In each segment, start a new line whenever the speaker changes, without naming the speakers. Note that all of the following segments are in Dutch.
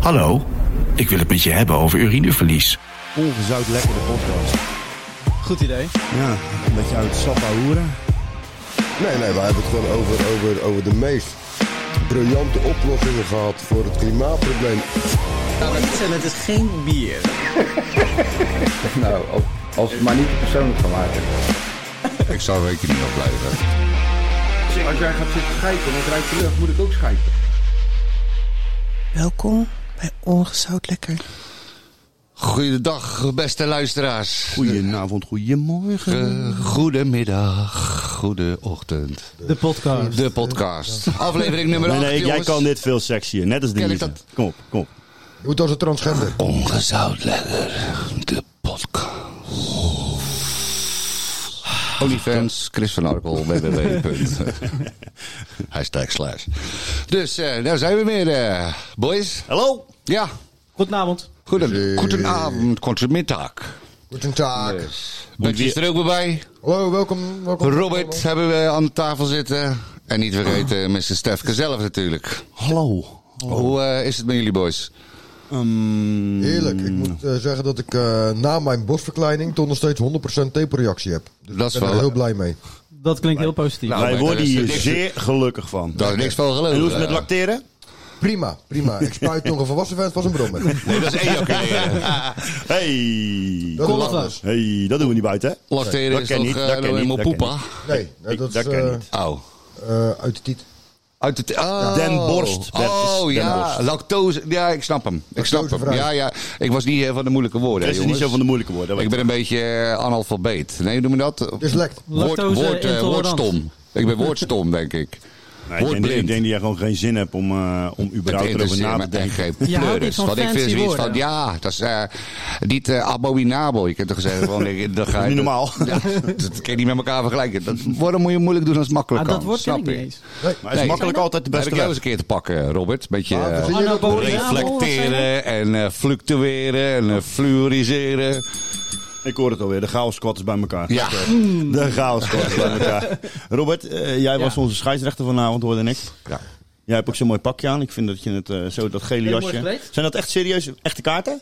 Hallo, ik wil het met je hebben over urineverlies.
Ongezout lekkere podcast.
Goed idee.
Ja, een beetje uit sap hoeren.
Nee, nee, we hebben het gewoon over, over, over de meest briljante oplossingen gehad voor het klimaatprobleem.
Nou, maar niet zijn, het is geen bier.
Nou, als, als het maar niet persoonlijk van maken.
Ik zou rekening op blijven.
Als jij gaat zitten schijpen en het ruikt de lucht, moet ik ook schijpen.
Welkom bij Ongezout Lekker.
Goedendag, beste luisteraars.
Goedenavond, goedemorgen.
Eh, goedemiddag, goedeochtend.
De podcast.
De podcast. Aflevering nummer 8,
Nee, nee, jij
jongens.
kan dit veel sexier. Net als
Ken ik
deze.
dat?
Kom op, kom op.
Hoe dat het transgender?
Ongezout lekker, de podcast. Onlyfans, Chris van Arkel, www. Hashtag slash. Dus, eh, daar zijn we weer, eh, boys.
Hallo? Dus, eh,
Ja,
Goedenavond.
goeden, goedenavond, goedemiddag.
Goedendag.
Betje is er ook weer bij.
Hallo, welkom. welkom.
Robert hebben we aan de tafel zitten. En niet vergeten, Mr. Stefke zelf natuurlijk.
Ah. Hallo.
Hoe eh, is het met jullie boys?
Ehm,
Heerlijk. Ik moet eh, zeggen dat ik eh, na mijn borstverkleining toch nog steeds 100% taperreactie heb. Dus
Dat is
ik ben
wel-
er heel blij mee.
Dat klinkt heel positief.
Nou,
wij
maar
worden
daar is
hier
niks-
zeer gelukkig van.
Daar is niks van geloven.
En hoe is het met
Ja.
lacteren?
Prima, prima. Ik spuit nog een volwassen vent van zijn brommer.
Nee, dat is één keer.
Hey.
Dat is
Kolven.
anders.
Hey, dat doen we niet buiten, hè?
Lacteren
Dat
is
kan
nog
niet,
eh,
dat kan
nog
niet,
helemaal
dat kan
poepa.
Nee, nee,
Ik-
dat is
dat kan
eh,
niet.
Auw.
eh, uit de tiet.
Uit het... Oh.
Den Borst. Bert is
Oh
Den
ja,
Borst.
lactose. Ja, ik snap hem. Ik snap hem.
Lactosevrij.
Ja, ja. Ik was niet eh, van de moeilijke woorden,
Dat
hè,
is niet
jongens.
zo van de moeilijke woorden.
Ik ben een beetje eh, analfabeet. Nee, hoe noem je dat?
Dyslect.
Woord,
Lactose
woord, eh,
intolerant.
woordstom. Ik ben woordstom, denk ik.
Nee, ik, denk,
woordblind.
ik denk dat jij gewoon geen zin hebt om, eh, om überhaupt
Het
erover
interesseert
na te
me echt
denken.
geen
Je houdt
pleuris.
niet van
Want ik vind
fancy
zoiets van,
woorden.
ja, dat is eh, niet eh, abominabel. Je kunt toch zeggen, van, ik- dan ga je...
Niet normaal.
Ja, dat kan je niet met elkaar vergelijken. Dat, waarom moet je moeilijk doen als het makkelijk
Ah,
kan?
dat woord ken
Snap
ik niet eens.
Maar het is
Nee.
makkelijk altijd de
Heb ik
beste
jou eens
weg.
een keer te pakken, Robert. Een beetje
Ah,
eh,
begin je
Anno
dat-
Bo-
reflecteren en eh, fluctueren en eh, fluoriseren.
Ik hoor het alweer, de chaos squad is bij elkaar.
Ja.
De chaos squad is bij elkaar. Robert, eh, jij was
Ja.
onze scheidsrechter vanavond, hoorde ik.
Ja.
Jij hebt ook zo'n mooi pakje aan. Ik vind dat je het eh, zo, dat gele
Heel mooi
jasje.
gekleed.
Zijn dat echt serieus echte kaarten?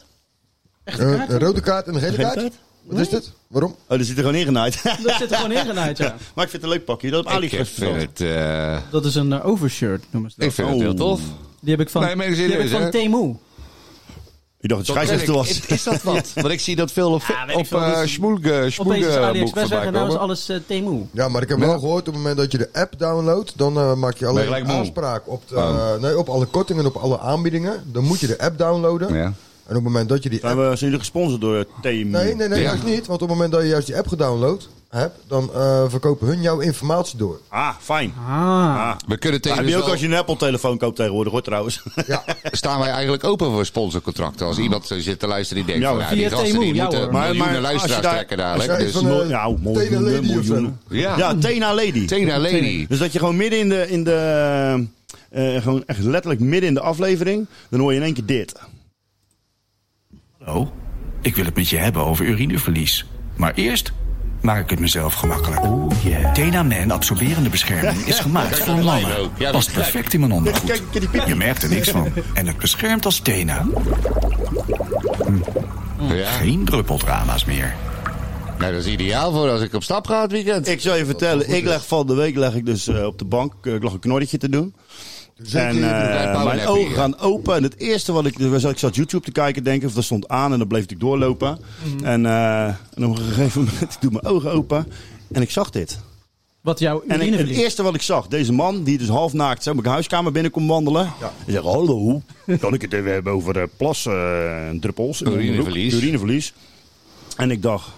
eh, een rode kaart en een gele
Gele
kaart?
kaart?
Wat is dit? Waarom?
Oh, die zit er gewoon ingenaaid.
Dat zit er gewoon in uit, ja.
maar ik vind het een leuk pakje. Dat op
Ik eh,
AliExpress
vind
besteld.
het, eh,
Dat is een eh, overshirt, noemen ze dat.
ik vind het heel
Oh.
tof.
Die heb ik van,
Nee, maar serieus,
die heb ik van
hè?
Temu.
Ik dacht dat het
Dat ken
scheidsrechter
ik.
was.
Is- Is dat wat? Want ik zie dat veel op,
Ja, weet ik
op
veel. Dat
eh
is-
Schmoelge-
Opeens is
Schmoelge boek
AliExpress weg
voorbij
en nou is
komen.
alles eh, Temu.
Ja, maar ik heb wel gehoord op het moment dat je de app downloadt, dan eh, maak je alleen
gelijk moe?
aanspraak op, de, eh, nee, op alle kortingen, op alle aanbiedingen. Dan moet je de app downloaden.
Ja.
En op het moment dat je die
Zijn,
app...
we, zijn jullie gesponsord door eh, Team?
Nee, nee, nee,
Ja.
juist niet. Want op het moment dat je juist die app gedownload hebt, dan eh, verkopen hun jouw informatie door.
Ah, fijn.
Ah,
Ah.
We kunnen
Dat heb
tegen
je ook als je een Apple-telefoon koopt tegenwoordig, hoor, trouwens.
Ja,
staan wij eigenlijk open voor sponsorcontracten. Als iemand zo zit te luisteren die denkt
Ja,
van,
hoor.
ja, die
Via
gasten
Temu,
die
ja,
moeten
hoor.
miljoenen
Maar- maar als je
luisteraars
daar-
trekken
als
dadelijk.
je
Dus,
van, eh,
Mooi- nou,
Tena
miljoenen,
Lady of zo.
miljoenen.
ja,
Ja, Tena Lady.
Tena Lady.
Dus dat je gewoon midden in de, in de eh, gewoon echt letterlijk midden in de aflevering, dan hoor je in één keer dit.
Hallo, ik wil het met je hebben over urineverlies. Maar eerst maak ik het mezelf gemakkelijk. Oh Man absorberende bescherming is gemaakt voor mannen.
Ja,
Past perfect in mijn ondergoed.
Kijk, kijk die piep.
Je merkt er niks van. En het beschermt als Tena.
Ja.
Geen druppeldrama's meer.
Nou, dat is ideaal voor als ik op stap ga het weekend.
Ik zal je vertellen, ik leg van de week leg ik dus eh, op de bank, eh, ik lag een knorretje te doen.
Zeker
En
hier.
eh,
Klein powernappie,
mijn ogen
ja.
gaan open. En het eerste wat ik. dus Ik zat YouTube te kijken, denken. Of dat stond aan. En dan bleef ik doorlopen. En, eh, en op een gegeven moment. Ik doe mijn ogen open. En ik zag dit.
wat jouw
En ik- het
urineverlies.
eerste wat ik zag, deze man die dus half naakt zo mijn huiskamer binnenkomt wandelen. En zegt, hallo, kan ik het even hebben over eh, plassen en druppels? in mijn
Urineverlies.
onderbroek? Urineverlies. En ik dacht,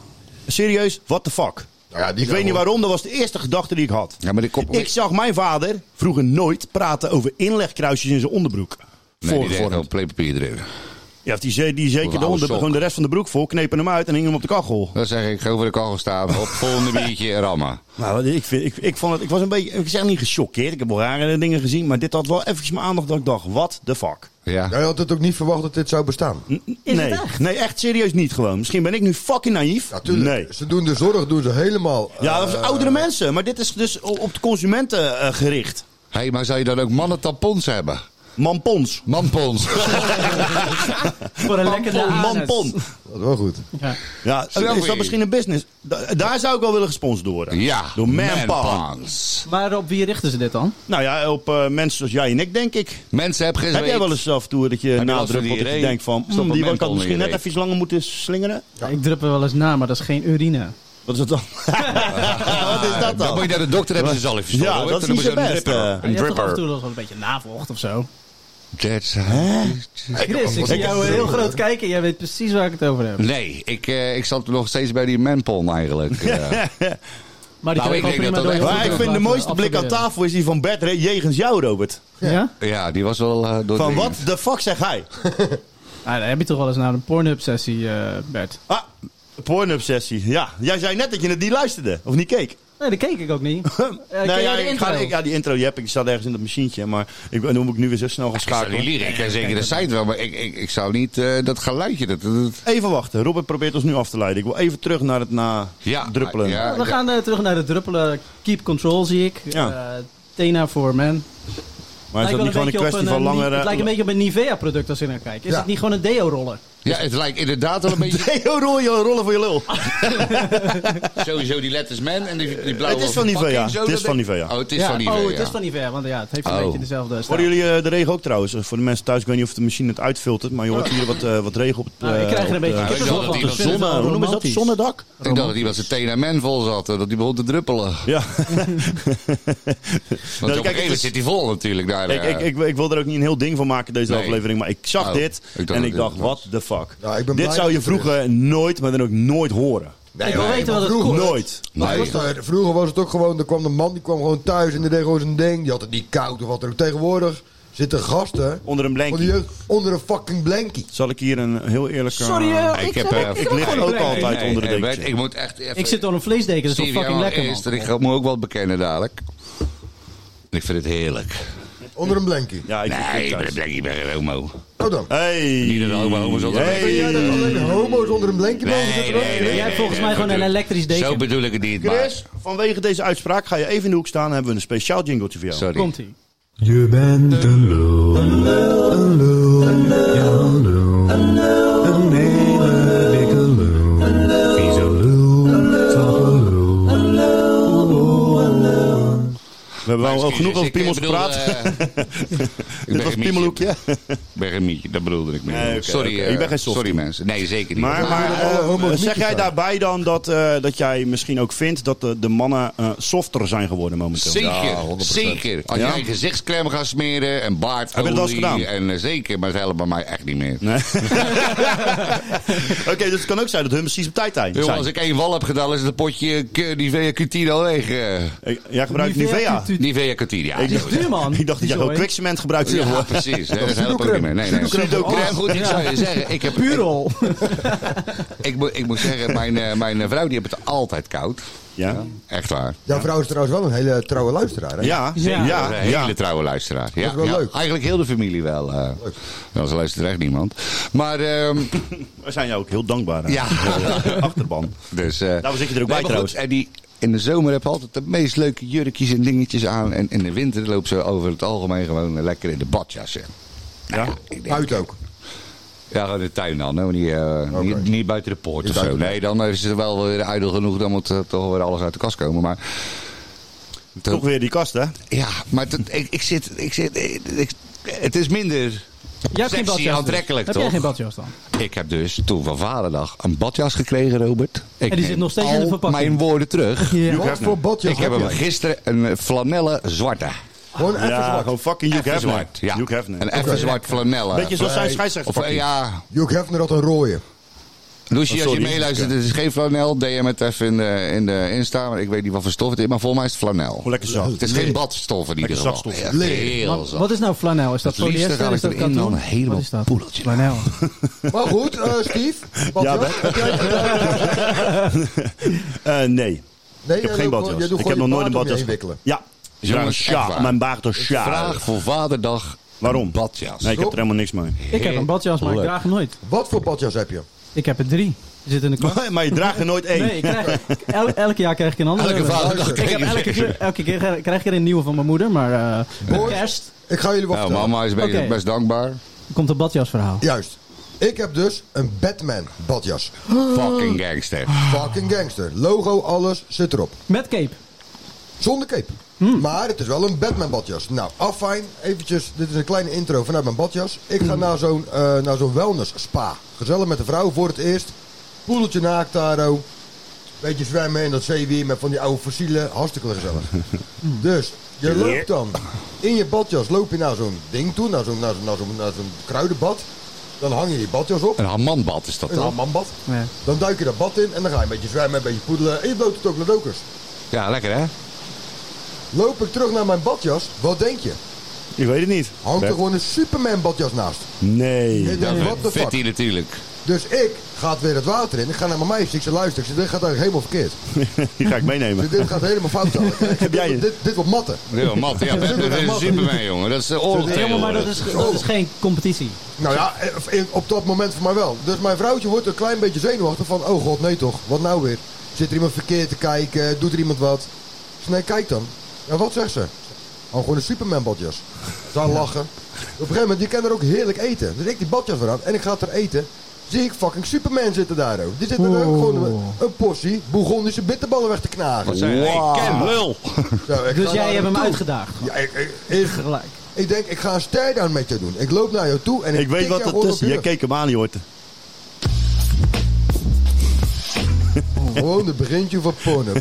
serieus, what the fuck?
Ja, die
ik weet
zijn
niet
wel-
waarom, dat was de eerste gedachte die ik had.
Ja, maar die kop-
Ik zag mijn vader vroeger nooit praten over inlegkruisjes in zijn onderbroek.
Nee, die deed
Voorgevormd.
gewoon playpapier erin.
Ja, die, ze- die
Of
zeker
een
de, onder,
oude sok.
gewoon de rest van de broek vol, knepen hem uit en hing hem op de kachel.
Dan zeg ik, ga over de kachel staan, op volgende biertje en rammen.
Nou, ik, vind, ik, ik, vond het, ik was een beetje, ik zeg niet gechoqueerd, ik heb wel rare dingen gezien, maar dit had wel eventjes mijn aandacht dat ik dacht, what the fuck?
Ja.
Jij had het ook niet verwacht dat dit zou bestaan.
het
nee,
echt?
nee, echt serieus niet gewoon. Misschien ben ik nu fucking naïef.
Natuurlijk.
Nee.
Ze doen de zorg doen ze helemaal.
Ja, dat
eh,
was oudere mensen, maar dit is dus o- op de consumenten eh, gericht.
Hé, hey, maar zou je dan ook mannen tampons hebben?
Mampons.
Mampons.
Voor een lekkere
Mampon,
anus.
mampon.
Dat is wel goed.
Ja.
Ja, is dat
Selfie.
misschien een business? Da- daar zou ik wel willen gesponsord worden.
Ja,
Door Manpon.
manpons.
Maar op wie richten ze dit dan?
Nou ja, op eh, mensen zoals jij en ik, denk ik.
Mensen, heb geen
Heb jij
zweet.
wel eens zelf toe dat je
je last van
nadrukt op dat je
diarree?
denkt van...
Stop
"Mm,
een
die
menthol
kan
in
misschien
je
net
reet."
even langer moeten slingeren?
Ik drup er wel eens na, maar dat is geen urine.
Wat is dat dan? Wat is dat
Dan moet
dan?
je naar de dokter, hebben ze zal even
Ja, dat is niet zo best. eh.
Je hebt toch af en toe nog wel een beetje navolgt of zo? Chris, ik zie jou heel groot kijken. Jij weet precies waar ik het over heb.
Nee, ik, eh, ik zat nog steeds bij die manpon eigenlijk. eh.
Maar die
Nou,
kan je
ik
gewoon
denk
prima
dat dat
door je
echt-
Maar
handen
ik vind de
laten
mooiste blik aan
absorberen.
tafel is die van Bert Re- jegens jou, Robert.
Ja?
ja, die was wel eh,
Van
doordringend.
wat de fuck zeg hij?
Ah, dan heb je toch wel eens naar een pornhub-sessie, eh, Bert?
Ah, pornobsessie. Ja, jij zei net dat je naar die luisterde. Of niet keek. Nou
Nee, dat keek ik ook niet. Eh, ken jij
ja,
de
ik
intro?
ga, ik, ja, die intro die heb ik. Die staat ergens in dat machientje. Maar ik, dan moet ik nu weer zo snel gaan
Ik zou die
schakelen.
lieren, ik ken zeker de site wel, maar ik, ik, ik zou niet eh, dat geluidje... Dat, dat- dat-
Even wachten. Robert probeert ons nu af te leiden. Ik wil even terug naar het na
ja,
druppelen.
Ja,
We gaan eh, terug naar de druppelen. Keep control zie ik.
Ja.
Eh, Tena for men.
Maar is dat niet
Lijkt wel
gewoon een
beetje op
kwestie van
eh, ni-
langer...
Het
eh,
lijkt een beetje op een Nivea-product als je naar kijkt. Is het niet gewoon een deo-roller?
ja, het lijkt inderdaad wel een beetje...
Nee, joh, rol je rollen voor je lul.
Sowieso die letters man en die, die blauwe...
Het is van Nivea.
verpakking, zo,
Het is
dat
van
ik-
Nivea.
Oh, het is
Ja.
van Nivea.
Oh, het is van Nivea, want ja, het heeft een
Oh.
beetje dezelfde stijl.
Hoorden jullie eh, de regen ook trouwens? Eh, Voor de mensen thuis, ik weet niet of de machine het uitfiltert, maar je hoort hier wat, eh, wat regen op het...
Nou, ik
eh,
krijg er
op
een beetje
de-
ik
kippenvel
dacht
van.
dat die
Ik
van
vind het wel
Zonne, hoe noemen ze dat?
romantisch.
Zonnedak?
Ik dacht dat iemand zijn tenen en men vol zat, eh, dat die begon te druppelen.
Ja. Nou,
Want
kijk,
op een gegeven
het is-
moment zit hij vol natuurlijk daar.
ik,
eh.
ik, ik, ik wil er ook niet een heel ding van maken, deze
Nee.
aflevering. Maar ik zag
Oh,
dit
ik dacht
en
dat
ik
dit
dacht,
was.
what the fuck.
Ja, ik ben
dit
blij
zou je
dat het er
vroeger nooit, maar dan ook nooit horen.
Nee,
Ik wil
nee.
weten wat het
vroeg.
kost.
Nooit.
Maar
Nee.
was daar- vroeger was het ook gewoon, er kwam de man, die kwam gewoon thuis en die deed gewoon zijn ding. Die had het niet koud of wat dan ook. Tegenwoordig zitten gasten
Onder een
van die
blankie.
jeugd onder een fucking blankie.
Zal ik hier een heel eerlijke...
Sorry, eh,
Ik
ik,
heb,
heb,
eh,
ik,
Ik lig
gewoon
ook
blij.
altijd onder de
Nee,
dekentje.
weet- Ik moet echt even...
ik zit door een vleesdeken, dus dat is toch
Stevia
fucking lekker,
oh, eerst,
man.
en Ik moet ook wel bekennen dadelijk. Ik vind het heerlijk.
Onder een blankie.
Ja, ik
Nee,
ik-
ik ben, ik ben geen homo.
Oh dan.
Hey.
Niet een homo, homo's altijd
Hey.
Ben jij dan alleen homo's onder een blankie boven zitten?
Jij hebt volgens mij gewoon een elektrisch deken.
Zo bedoel ik het niet, maar...
Chris, vanwege deze uitspraak ga je even in de hoek staan. Dan hebben we een speciaal jingletje voor jou.
Sorry.
Komt-ie.
Je bent een lul, een lul, een lul, ja een lul, een hele dikke lul, vieze lul, zachte lul,
We hebben wel
Excuses,
genoeg over
ik
piemels
bedoel,
gepraat.
eh, Ik
Dit
ben
was
een
het piemelhoekje.
piemelhoekje. Ik ben een mietje, dat bedoelde ik niet.
Nee, oké,
sorry,
oké.
eh,
Ik ben geen softie.
sorry mensen. Nee, zeker niet.
Maar, maar
willen alle
eh,
homo's
zeg
mietjes
jij
zijn.
daarbij dan dat, eh, dat jij misschien ook vindt dat de, de mannen eh, softer zijn geworden momenteel?
Zeker,
Ja, 100%.
zeker. Als
Ja?
jij een gezichtscrème gaat smeren en baard.
Heb je dat eens gedaan?
En eh, zeker, maar het helpt bij mij echt niet meer.
Nee. Oké, dus het kan ook zijn dat hun precies op tijd zijn.
Jongen, als ik één wal heb gedaan, is het een potje eh, Nivea Cutino weg. eh.
Ik- Jij gebruikt Nivea.
Nivea Cutino, ja.
Ik
zo
dacht,
is het.
duur, man.
ik dacht dat jij gewoon
Sorry.
kwikcement gebruikt.
Ja,
Ja.
precies. hè, Dat helpt ook niet meer. Nee, nee. Pseudo-crème, goed, ik zou je zeggen. Ik heb,
Puur
ik,
al.
ik, moet- ik moet zeggen, mijn, eh, mijn eh, vrouw die heeft het altijd koud.
Ja.
Echt waar.
Jouw vrouw is trouwens wel een hele trouwe luisteraar. Hè?
Ja.
Ja.
Dat is
Ja.
Een hele
ja.
trouwe luisteraar. Ja,
Dat is wel
ja.
leuk.
Eigenlijk heel de familie wel. eh. Nou, ze luistert echt niemand. Maar ehm,
We zijn jou ook heel dankbaar. hè.
ja,
Achterban.
dus... eh,
Daarom zit je er ook bij
maar goed,
trouwens.
en die, in de zomer heb je altijd de meest leuke jurkjes en dingetjes aan. En in de winter loopt ze over het algemeen gewoon eh, lekker in de badjassen.
Ja.
Ik denk,
Uit ook.
Ja, gewoon in de tuin dan. hè, maar Niet, eh, niet, niet buiten de poort
Niet
of zo.
buiten de-
Nee, dan is het wel weer ijdel genoeg. Dan moet eh, toch weer alles uit de kast komen. Maar
Toch weer die kast, hè?
ja, maar dat- ik, ik zit... Ik zit ik, ik- het is minder...
Jij hebt geen
Sexy,
badjas. dus.
aantrekkelijk,
Heb jij
toch?
geen badjas dan?
Ik heb dus toen van vaderdag een badjas gekregen, Robert. Ik
En die zit
neem
nog steeds in
al
de verpakking.
mijn woorden terug.
Wat voor badjas
Ik heb hem
jij?
gisteren een eh, flanellen zwarte.
Gewoon even
Ja,
zwart.
gewoon fucking Hugh
Even
Hefner.
zwart, ja.
Hugh Hefner.
Een even zwart flanellen.
Beetje zoals zijn scheidsrechter.
Of eh, ja,
Hugh Hefner had een rooie.
Lucie,
Oh,
als je
sorry.
meeluistert, het is geen flanel. DM het even in de, in de Insta. Maar ik weet niet wat voor stof het is, maar volgens mij is het flanel.
Gewoon Oh, lekker zacht.
Het is geen badstof in ieder
Lekker
geval.
zachtstof.
Ja,
Maar
heel zacht.
Wat is nou flanel? Is dat
Het liefste
polyester?
ga
Is
ik
dat
erin dan
katoen?
een helemaal
Wat is dat?
poedeltje.
Flanel.
Maar goed, eh, Steve. Badjas?
Ja,
Heb jij het gedaan?
Eh, nee.
Nee,
Ik heb
jij loopt
geen
gewoon- jij
badjas.
doet gewoon
Ik heb
je
nog
baard
nooit
om je
een badjas.
heen wikkelen.
Ja. Ik draag een
Jongens, echt
sjaal.
waar.
Mijn baard is sjaal.
Vraag voor vaderdag
Waarom?
een badjas.
Nee, ik heb er helemaal niks mee.
Ik heb een badjas, maar ik
Leuk.
draag hem nooit.
Wat voor badjas heb je?
Ik heb er drie. Die zitten in de kast.
Maar, maar je draagt er nooit één.
Nee, ik krijg, el- elk jaar krijg ik een andere.
Elke vaderdag
Ik heb elke keer, elke keer krijg ik er een nieuwe van mijn moeder, maar eh, met
Boys.
kerst.
Ik ga jullie wat
Nou,
vertellen.
mama is best,
Oké.
best dankbaar.
Komt een badjas verhaal.
Juist. Ik heb dus een Batman badjas.
Fucking gangster.
Fucking gangster. Logo, alles zit erop.
Met cape.
Oh,
Zonder cape. Maar het is wel een Batman badjas. Nou, afijn. Eventjes, dit is een kleine intro vanuit mijn badjas. Ik ga naar zo'n eh, naar zo'n wellness spa. Gezellig met de vrouw voor het eerst. Poeltje naakt daar, oh. Beetje zwemmen in dat zeewier met van die oude fossielen. Hartstikke gezellig. Dus, je loopt dan. In je badjas loop je naar zo'n ding toe. Naar zo'n naar zo'n- naar zo'n- naar zo'n kruidenbad. Dan hang je je badjas op.
Een hamanbad is dat
Een
dan?
hammambad.
Ja.
Dan duik je dat bad in en dan ga je een beetje zwemmen, een beetje poedelen. En je bloot het ook ladokers.
Ja, lekker hè?
Loop ik terug naar mijn badjas, wat denk je?
Ik weet het niet.
Hangt er
Bert?
gewoon een Superman badjas naast.
Nee.
Ik denk, what the
Vindt hij
fuck?
natuurlijk.
Dus ik ga het weer het water in. Ik ga naar mijn meisje, ik zeg luister, ik zeg, dit gaat eigenlijk helemaal verkeerd.
Die ga ik
Ik
meenemen.
zeg, dit gaat helemaal fout. Heb
jij het?
dit, dit wordt matten.
Ja, mat, ja, dat is een Superman, jongen. Dat is de oorlog
Ja, maar dat
tegenwoordig.
is, dat is geen competitie.
Nou ja, eh, in- op dat moment voor mij wel. Dus mijn vrouwtje wordt een klein beetje zenuwachtig van, oh god, nee toch, wat nou weer? Zit er iemand verkeerd te kijken, doet er iemand wat? Ik zeg, nee, kijk dan. Ja, wat zegt ze? Oh, gewoon een Superman badjas. Dan lachen. Op een gegeven moment, je kan er ook heerlijk eten. Dus ik die badjas weer aan en ik ga er eten. Zie ik fucking Superman zitten daar ook. Die zit er ook gewoon een, een portie Bourgondische bitterballen weg te knagen.
Wat zei hij? Ik ken lul.
Zo, ik
Dus
ga
jij
naar
hebt hem
toe.
uitgedaagd.
Ja, ik, ik, ik,
Gelijk.
ik denk, ik ga een stare-down met je doen. Ik loop naar jou toe en ik
Ik weet
tik
wat
jou
dat
gewoon op
is.
je
Jij
rug.
keek hem aan, Jorten.
Gewoon het begintje van porno.
Dat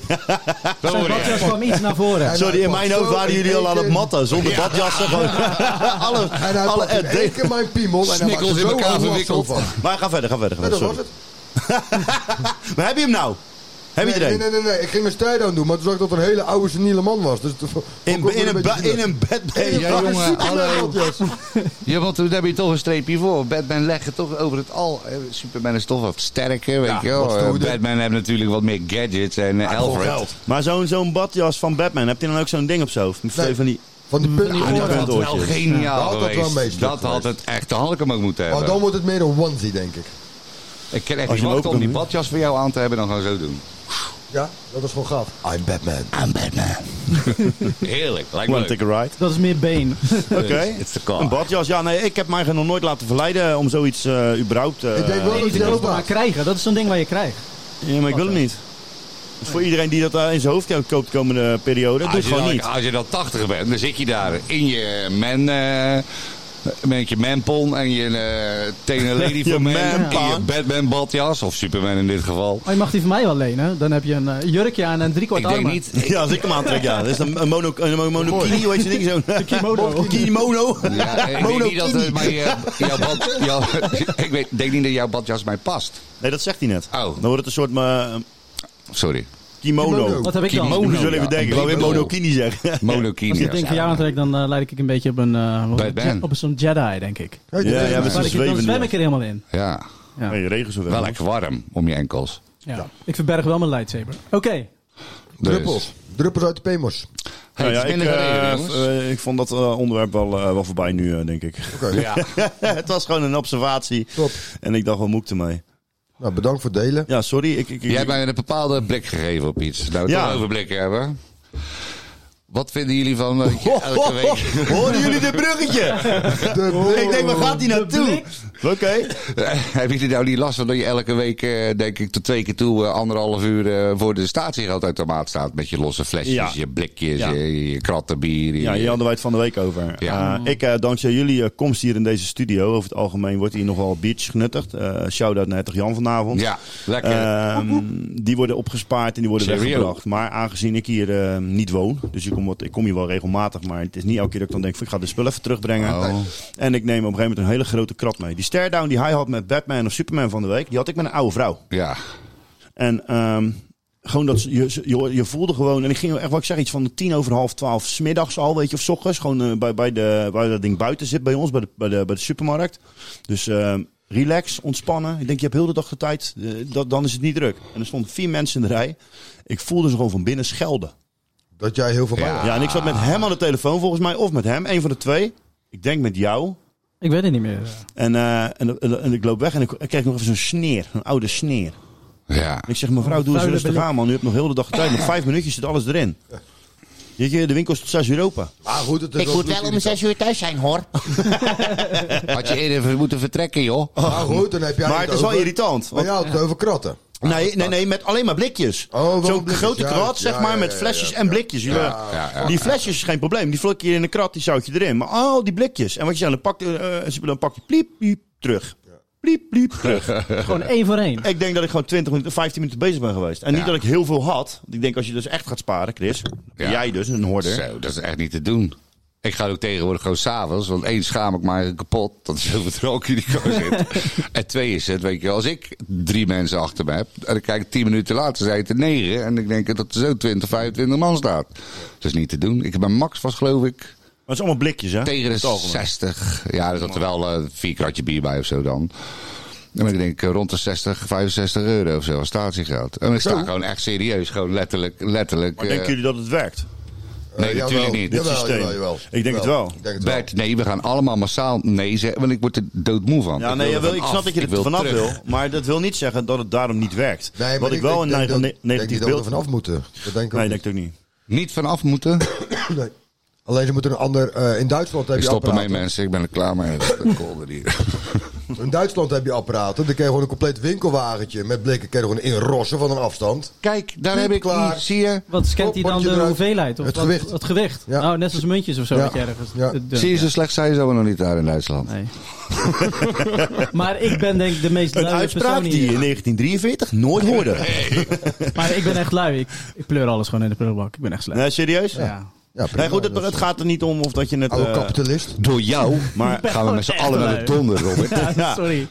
Zijn
hoor je.
badjas kwam iets naar voren.
En
Sorry,
hij
in
pakt
mijn hoofd
zo
waren
in
jullie
één
al aan het
keer-
matten. Zonder badjassen gewoon. alle
En hij
alle
pakt in één keer mijn piemel en hij maakt
Snikkels
er
in
zo
elkaar
overal
verwikkeld.
van.
Maar ga verder, ga verder. Ga
Ja,
verder.
dat was
Sorry.
het.
Maar heb je hem nou? Heb je
Nee,
er
nee,
een?
nee, nee, nee. Ik ging een stijl aan doen, maar toen zag ik dat het een hele oude seniele man was. Dus toen- vond ik
In,
ook
in,
weer
een ba-
beetje
in
zielig.
een bed ben
Ja,
je.
Fucking
jongen,
Superman
hallo.
badjas.
Ja, want toen heb je toch een streepje voor. Batman legt het toch over het al. Eh, Superman is toch wat sterker, weet
Ja,
je wel.
wat
Eh,
stoerder.
Batman heeft natuurlijk wat meer gadgets en eh,
gewoon
Alfred.
geld.
Maar zo'n zo'n badjas van Batman, heb je dan ook zo'n ding op zijn hoofd? Met
Nee.
van die...
Van die Oh, punt
Ah, dat
Ja,
had
nou
wel
oortjes.
geniaal
Ja, dat had wel
geweest.
meestuk
dat Oh, had
geweest.
het echt de Hannekem ook moeten
Maar dan
hebben.
wordt het meer een onesie, denk ik.
Ik kan echt
Als
niet
je hem
wachten
open
om die
doet.
badjas voor jou aan te hebben. Dan gaan we zo doen.
Ja, dat is gewoon gaaf. I'm Batman.
I'm Batman. Heerlijk. Lijkt me
One
leuk.
take a ride.
Dat is meer been.
Oké.
It's the car.
Een badjas, ja, nee, ik heb mij nog nooit laten verleiden om zoiets eh, überhaupt. eh,
Ik denk wel dat
Je
hij
moet
dat
het maar
maakt.
krijgen. Dat is zo'n ding waar je krijgt.
Ja, maar ik wil het niet. Dus voor iedereen die dat eh, in zijn hoofd koopt de komende periode, doe
Als
het
Ah, je,
gewoon
dan,
niet.
als je dan 80 bent, dan zit je daar in je man. eh, met je manpon en je eh tenen lady
Je
voor man. En
manpon.
je Batman badjas, of Superman in dit geval.
Oh, je mag die van mij wel lenen. Dan heb je een eh, jurkje aan en drie kwart
Ik denk
armen.
niet.
Ja, als ik hem aantrek, ja. Dat is een, een mono, een mono- monokini, hoe heet zo'n ding? Zo'n
kimono.
kimono.
Ja, ik denk niet dat
Monokini.
eh, mijn, eh, jouw bad, jouw, ik weet, denk niet dat jouw badjas mij past.
Nee, dat zegt hij net.
Oh.
Dan wordt het een soort eh,
Sorry.
kimono.
Kimono.
Wat heb ik dan?
Kimono.
Ik zullen
ja.
even denken, ik
Een
wou weer
kimono.
monokini zeggen.
Als
Monokini.
ik het ding van jou aantrek, dan eh, leid ik een beetje op een, eh, wat-
Batman.
op zo'n Jedi, denk ik.
Ja, ik
Ja,
denk-
ja, met
Maar
zo'n
ik, dan zwem
zwevende.
ik er helemaal in.
Ja,
Ja.
Hey, regen zo
wel
wel.
lekker warm om je enkels.
Ja. Ik verberg wel mijn lightsaber. Oké.
Dus.
Druppels. Druppels uit de pemos.
Hey,
Nou ja,
het is
ik,
minder gaan
eh,
regenen, jongens.
eh, ik vond dat eh, onderwerp wel, eh, wel voorbij nu, eh, denk ik.
Ja.
het was gewoon een observatie.
Top.
En ik dacht, wat moet ik ermee?
Nou, bedankt voor het delen.
Ja, sorry. Ik, ik, ik-
Jij hebt mij een bepaalde blik gegeven op iets. Nou, we
Ja.
toch over blikken hebben. Wat vinden jullie van dat je elke week...
Hoorden jullie dit bruggetje?
Oh.
Ik denk, waar gaat die naartoe? Oké.
Hebben jullie nou niet last van dat je elke week, eh, denk ik, tot twee keer toe... eh, anderhalf uur eh, voor de statiegeldautomaat staat... met je losse flesjes,
Ja.
je blikjes,
Ja.
je, je kratten bier. je-
Ja, hier hadden wij het van de week over.
eh, Ja.
Eh, ik, eh, dankzij jullie eh, komst hier in deze studio, over het algemeen wordt hier nogal biertjes genuttigd. Eh Shout-out naar Hertog Jan vanavond.
Ja, lekker.
Ehm, die worden opgespaard en die worden
Cheerio.
weggebracht. Maar aangezien ik hier eh, niet woon, dus ik kom, wat, ik kom hier wel regelmatig, maar het is niet elke keer dat ik dan denk, van, ik ga de spullen even terugbrengen.
Oh.
En ik neem op een gegeven moment een hele grote krat mee. Die stare-down die hij had met Batman of Superman van de week, die had ik met een oude vrouw.
ja.
En ehm, gewoon dat ze- je, je, je voelde gewoon. En ik ging echt, wat ik zeg, iets van de tien over half twaalf smiddags al, weet je, of 's ochtends. Gewoon eh, bij, bij de, waar dat ding buiten zit bij ons, bij de, bij de, bij de supermarkt. Dus ehm, relax, ontspannen. Ik denk, je hebt heel de dag de tijd. eh, dat, dan is het niet druk. En er stonden vier mensen in de rij. Ik voelde ze gewoon van binnen schelden.
Dat jij heel veel bij
Ja.
was.
Ja, en ik zat met hem aan de telefoon volgens mij, of met hem, een van de twee. Ik denk met jou.
Ik weet het niet meer.
En, eh, en, en, en ik loop weg en ik, ik kreeg nog even zo'n sneer, een oude sneer.
Ja.
En ik zeg, mevrouw, doe eens
Vuile
rustig
blik.
aan, man. U hebt nog heel de dag tijd. Nog vijf minuutjes zit alles erin. Weet je, de winkel is tot 6 uur open.
Maar goed, het is
Ik moet wel om zes uur thuis zijn, hoor.
Had je eerder even moeten vertrekken, joh.
Maar Ah, goed, dan heb jij
Maar het is wel
over-
irritant.
Maar
want-
jij had het over kratten.
Nee, nee, nee, met alleen maar blikjes.
Oh, wel
Zo'n
blikjes,
grote
ja,
krat, zeg
ja,
maar,
ja,
met
ja,
flesjes
ja,
en
ja.
blikjes. Die,
Ja,
ja, ja.
die flesjes is geen probleem. Die vluk je in een krat, die zout je erin. Maar al die blikjes. En wat je dan, dan pakt, eh, eh, dan pak je pliep, pliep, terug. Pliep, pliep, terug.
Gewoon één voor één.
ik denk dat ik gewoon 20 minuten, 15 minuten bezig ben geweest. En niet
Ja.
dat ik heel veel had. Want Ik denk als je dus echt gaat sparen, Chris.
Ja.
Jij dus, een hoorder.
Zo, dat is echt niet te doen. Ik ga ook tegenwoordig gewoon s'avonds, want één schaam ik me eigenlijk kapot. Dat is heel verdronken in die kooi zit. en twee is het, weet je, wel, als ik drie mensen achter me heb. en ik kijk tien minuten later, zijn het er negen. en ik denk dat er zo 20, 25 man staat. Dat is niet te doen. Ik ben Max was, geloof ik,
Maar het is allemaal blikjes, hè?
tegen de 60. Ja, er zat er wel eh, een vier kratje bier bij of zo dan. En ik denk eh, rond de 60, 65 euro of zo als statiegeld. En ik sta gewoon echt serieus, gewoon letterlijk, letterlijk.
Maar
eh,
denken jullie dat het werkt?
Nee,
Eh,
natuurlijk
jawel,
niet.
jawel,
Dit systeem.
jawel, jawel.
Ik denk het wel.
Ik denk het wel.
Bert, nee, we gaan allemaal massaal nee zeggen, want ik word er doodmoe van.
Ja,
wil
nee, ik,
er
wil,
van
ik
af.
snap dat je er
wil
vanaf
terug.
wil. Maar dat wil niet zeggen dat het daarom niet werkt.
Nee, maar
Wat ik wel een
denk
neg-
dat-
ne-
denk
negatief
niet dat we
beeld...
er vanaf moeten. Dat denk ik ook
Nee,
niet.
denk ik ook niet.
Niet vanaf moeten.
Nee. Alleen ze moeten een ander... eh, in Duitsland heb
Ik
je
stop ermee,
apparaten.
mensen. Ik ben er klaar mee. Dat is kolder hier.
In Duitsland heb je apparaten. Dan kun je gewoon een compleet winkelwagentje met blikken kun je er gewoon inrossen van een afstand.
Kijk, daar
Niet
heb ik
klaar.
klaar. Zie je?
Wat scant
Hop,
hij dan
potje
de
eruit.
hoeveelheid? Of
Het
wat-
gewicht.
Het gewicht.
Ja.
Nou, net als muntjes of zo.
Ja.
Dat je ergens
Ja.
het dunt,
Zie je,
ja.
zo slecht zijn ze we nog niet daar in Duitsland.
Nee. maar ik ben denk ik de meest
Een
luie persoon
uitspraak die je
hier.
in 1943 nooit hoorde.
Maar ik ben echt lui. Ik, ik pleur alles gewoon in de prullenbak. Ik ben echt slecht.
Nee, serieus?
Ja.
Ja, prima.
Nee, goed, het,
Dat
het
is-
gaat er niet om of dat je het...
Oude
eh,
kapitalist.
Door jou
maar
gaan we met z'n
Echt
allen naar de
lui.
donder, Robert.
Ja,
Ja.
sorry.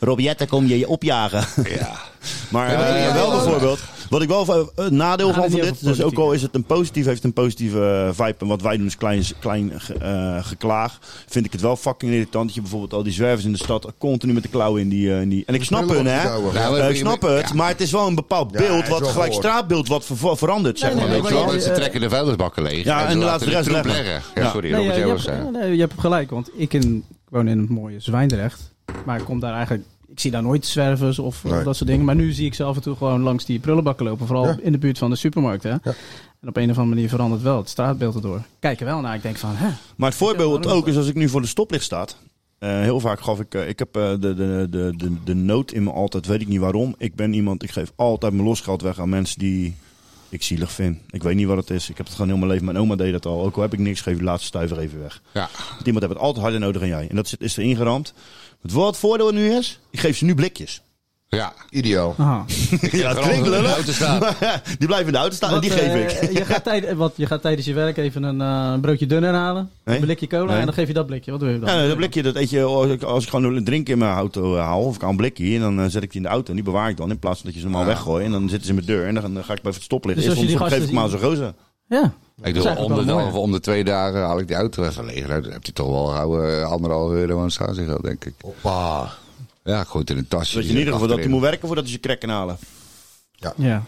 Robiette, kom je je opjagen.
ja.
Maar eh,
maar ja,
wel
ja, ja.
bijvoorbeeld, wat ik wel eh, een nadeel
Gaan we
van van
het
dit,
niet
dus
over
ook al
politiek.
is het een positief, heeft een positieve eh, vibe. En wat wij doen is klein, klein ge- eh, geklaag. Vind ik het wel fucking irritant dat je bijvoorbeeld al die zwervers in de stad continu met de klauwen in die... eh, in die en ik snap hun,
prullenbak
hè.
houden.
Nou,
Eh,
maar-
ik snap het,
ja.
maar het is wel een bepaald
Ja,
beeld,
is
wat
wel
gelijk
gehoord.
straatbeeld wat ver- verandert, zeg maar.
nee,
weet
Weet je
je
wel,
maar-
wel.
mensen
eh,
trekken de vuilnisbakken leeg.
Ja, en
ze
laten
laten
de rest
troep
leggen.
leggen. Ja,
Ja.
sorry,
Nee,
Robert,
je,
jij
je
wou
hebt,
zeggen.
nee, je hebt gelijk, want ik, in, ik woon in het mooie Zwijndrecht. Maar ik kom daar eigenlijk... Ik zie daar nooit zwervers of, of
Nee.
dat soort dingen. Maar nu zie ik ze af en toe gewoon langs die prullenbakken lopen. Vooral
Ja.
in de buurt van de supermarkt. Hè? En op een of andere manier verandert wel het straatbeeld erdoor. Kijk er wel naar. Ik denk van, hè?
Maar het voorbeeld
Ja, waarom?
ook is als ik nu voor de stoplicht sta. eh, heel vaak gaf ik, eh, ik heb eh, de, de, de, de, de nood in me altijd, weet ik niet waarom. Ik ben iemand, ik geef altijd mijn losgeld weg aan mensen die ik zielig vind. Ik weet niet wat het is. Ik heb het gewoon heel mijn leven. Mijn oma deed dat al. Ook al heb ik niks, geef de laatste stuiver even weg.
Ja.
Want iemand heeft het altijd harder nodig dan jij. En dat zit- is er ingeramd. Wat het voordeel nu is, ik geef ze nu blikjes.
Ja.
Ideaal.
Aha.
Ja, dat klinkt
in de
lullig.
auto staan.
maar die blijven in de auto staan en Ah, die
Wat,
geef ik.
eh, je, gaat tijd, wat, je gaat tijdens je werk even een eh, broodje dunner halen.
Nee.
Een blikje cola
Nee.
en dan geef je dat blikje. Wat doe je dan?
Ja, dat blikje, dat eet je als ik, als ik gewoon een drink in mijn auto eh, haal. Of ik haal een blikje en dan eh, zet ik die in de auto. En die bewaar ik dan in plaats van dat je ze normaal weggooit. En dan zitten ze in mijn deur en dan, dan ga ik bij het stoplicht.
Dus
Dus
als je die
soms geef ik
gasten
maar zo'n gozer.
Ja.
Ik doe
Dat is
om de,
eigenlijk wel mooi.
of om de twee dagen haal ik die auto even leeg. Dan heb je toch wel gauw, eh, anderhalf euro aan statiegeld, denk ik.
Hoppa.
Ja, ik gooi het in een tasje.
Dat je Dus in ieder geval dat hij moet werken voordat hij je krek kan halen.
ja.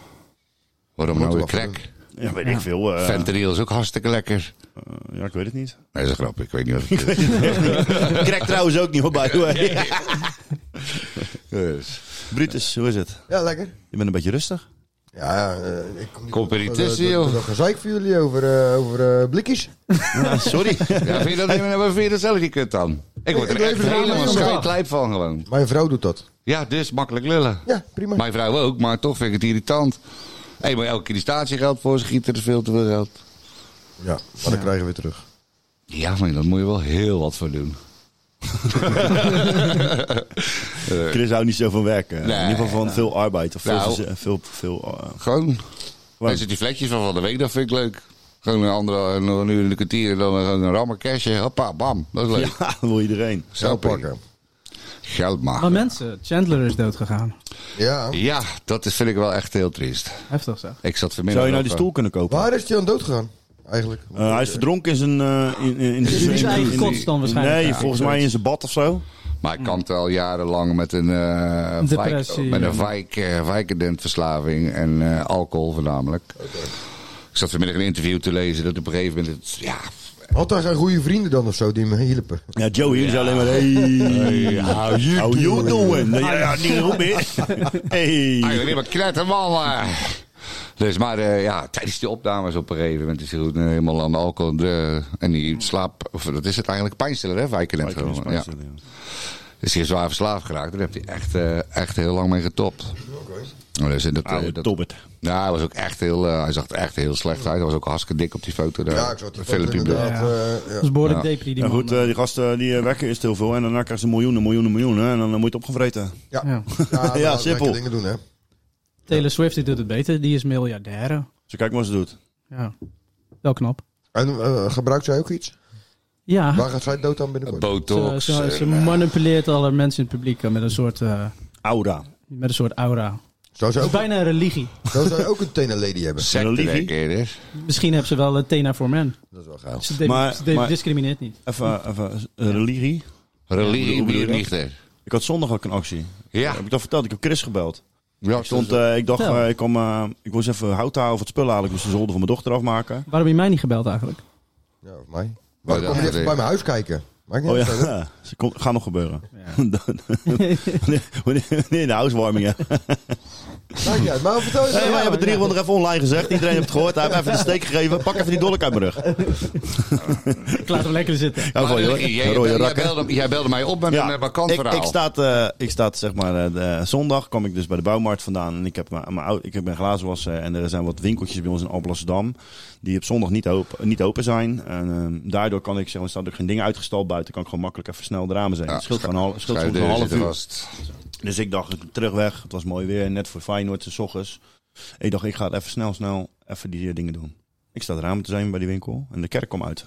Waarom
Moet
nou weer
wat
crack?
Ja, weet ik veel. eh,
Fentanyl is ook hartstikke lekker.
ja, ik weet het niet.
Nee, dat is een grap. Ik weet niet wat het is.
Krek trouwens ook niet, hoor, by the way.
Dus.
Brutus, hoe is het?
Ja, lekker.
Je bent een beetje rustig.
Ja, eh, ik kom niet
Competitie,
op, eh, dat-
joh.
dat gezeik voor jullie over, eh, over eh, blikjes.
Ja, sorry.
Ja, vind je dat, maar vind je dat zelf niet kut dan? Ik word
Ik
er
leef
echt
er helemaal
helemaal
niet
scheidlijp van gewoon.
Mijn vrouw doet dat.
Ja, dus makkelijk lullen.
Ja, prima.
Mijn vrouw ook, maar toch vind ik het irritant. Hé, maar elke keer die statiegeld voor ze gieten er veel te veel geld.
Ja, maar dan krijgen we weer terug.
Ja, maar daar moet je wel heel wat voor doen.
Chris houdt niet zo van werken.
Nee.
in ieder geval van veel arbeid. Of veel,
Nou.
verze- veel, veel, eh,
Gewoon.
Waarom?
Mensen die vlekjes van van de week, dat vind ik leuk. Gewoon een andere, nog een uur in de kwartier en dan gewoon een rammer cashje. Hoppa, bam. Dat is leuk.
ja, dat wil iedereen.
Zo
pakken.
Geld
Maar
maken.
mensen, Chandler is dood gegaan.
Ja.
Oh.
Ja, dat is, vind ik wel echt heel triest.
Heftig zeg.
Ik zat vanmiddag...
Zou je nou die
nog,
stoel kunnen kopen?
Waar is die aan dood gegaan? Eigenlijk.
Eh, hij is verdronken in zijn. eh, in, in, in,
In zijn eigen
in-
kots dan waarschijnlijk.
Nee,
Ja,
volgens
zoiets.
mij in zijn bad of zo.
eh, Maar ik kampt al jarenlang met een... eh
Depressie,
Wijk, met een
ja.
wijk, eh, wijkendentverslaving en eh, alcohol voornamelijk. Ik zat vanmiddag een interview te lezen dat op een gegeven moment... het- ja,
Had hij geen goede vrienden dan of zo die me hielpen?
Ja, Joey is alleen maar. Hey,
how you
how you doing? Ja, ja, niet goed meer. Hey.
Eigenlijk alleen maar knetten, man. eh. Dus, maar eh, ja, tijdens die opnames op een gegeven moment is hij goed, eh, helemaal aan de alcohol. eh, en die slaap, of dat is het eigenlijk, pijnstiller hè, Vicodin
Vicodin is
gewoon. Ja.
pijnstiller,
Is hij zwaar verslaafd geraakt, daar heeft hij echt, eh, echt heel lang mee getopt. Oké. Dus, en dat, eh,
Oude
dat,
tobbert.
ja, Nou, hij was ook echt heel, eh, hij zag er echt heel slecht uit. Hij was ook hartstikke dik op die foto daar.
Ja, ik zag die
Een
foto
filmpje
inderdaad.
bedoel.
eh, ja.
Dat is behoorlijk
Ja.
depri die
Ja,
man.
goed, eh, die gasten die eh, werken eerst heel veel en daarna krijgen ze miljoenen, miljoenen, miljoenen. En dan moet je het opgevreten.
Ja,
Ja.
ja,
Ja,
ja
simpel.
simpel. dingen doen, hè.
Taylor Swift die doet het beter. Die is miljardair.
Ze kijken wat ze doet.
Ja. Wel knap.
En eh, gebruikt zij ook iets?
Ja.
Waar gaat zij dood aan binnenkort?
Ze,
Botox.
ze,
eh,
ze manipuleert alle mensen in het publiek eh, met een soort, eh,
Aura.
met een soort aura.
Zou zij
Het is
ook,
bijna een religie.
zou zij ook een tenen lady hebben?
Secte is.
Misschien hebben ze wel eh, Tena voor men.
Dat is wel geil.
Ze, de-
Maar-
ze de-
maar-
discrimineert niet.
Even, even eh, religie.
Religie,
Hoe bedoel je dat?
bierrichter.
Ik had zondag ook een actie.
Ja.
Heb ik dat verteld? Ik heb Chris gebeld.
Ja,
Ik, stond, eh, ik dacht,
Ja.
eh, ik, kwam, eh, ik moest even hout halen of het spullen halen. Ik moest de zolder van mijn dochter afmaken.
Waarom heb je mij niet gebeld eigenlijk?
Oh, Ja, of mij. Maar
dat
kom je
is
even
het.
bij mijn huis kijken? Maakt niet
Oh
uit. hè?
ja, ze kon, gaat nog gebeuren. Dan- wanneer- wanneer in de housewarming, hè.
Maakt niet uit. Maar vertel nou? eens.
Hey, wij
ja,
hebben drie
ja.
ronden even online gezegd. Iedereen heeft het gehoord. Hij heeft even de steek gegeven. Pak even die dolk uit mijn rug.
Ik laat hem lekker zitten.
Ja,
Maar
gooi, nou, hoor.
jij, jij,
Rode
jij
rakken.
belde, jij belde mij op met
Ja,
een vakant
ik,
verhaal.
ik, sta, eh, ik sta zeg maar, eh, de- zondag kwam ik dus bij de bouwmarkt vandaan. En ik heb mijn, mijn, ou- ik heb mijn glazen wassen. En er zijn wat winkeltjes bij ons in Alblasserdam. Die op zondag niet, open, niet open zijn. En, ehm, daardoor kan ik, zeg maar, staat ook geen dingen uitgestald buiten. Kan ik gewoon makkelijk even snel de ramen zijn.
Ja,
het scheelt
schu-
gewoon een hal- scheelt
Schuif
soms een
deur
half
zit
uur.
vast.
Dus ik dacht, terug weg. Het was mooi weer. Net voor Feyenoord, de ochtends. Ik dacht, ik ga het even snel, snel even die eh, dingen doen. Ik sta de ramen te zijn bij die winkel. En de kerk kwam uit.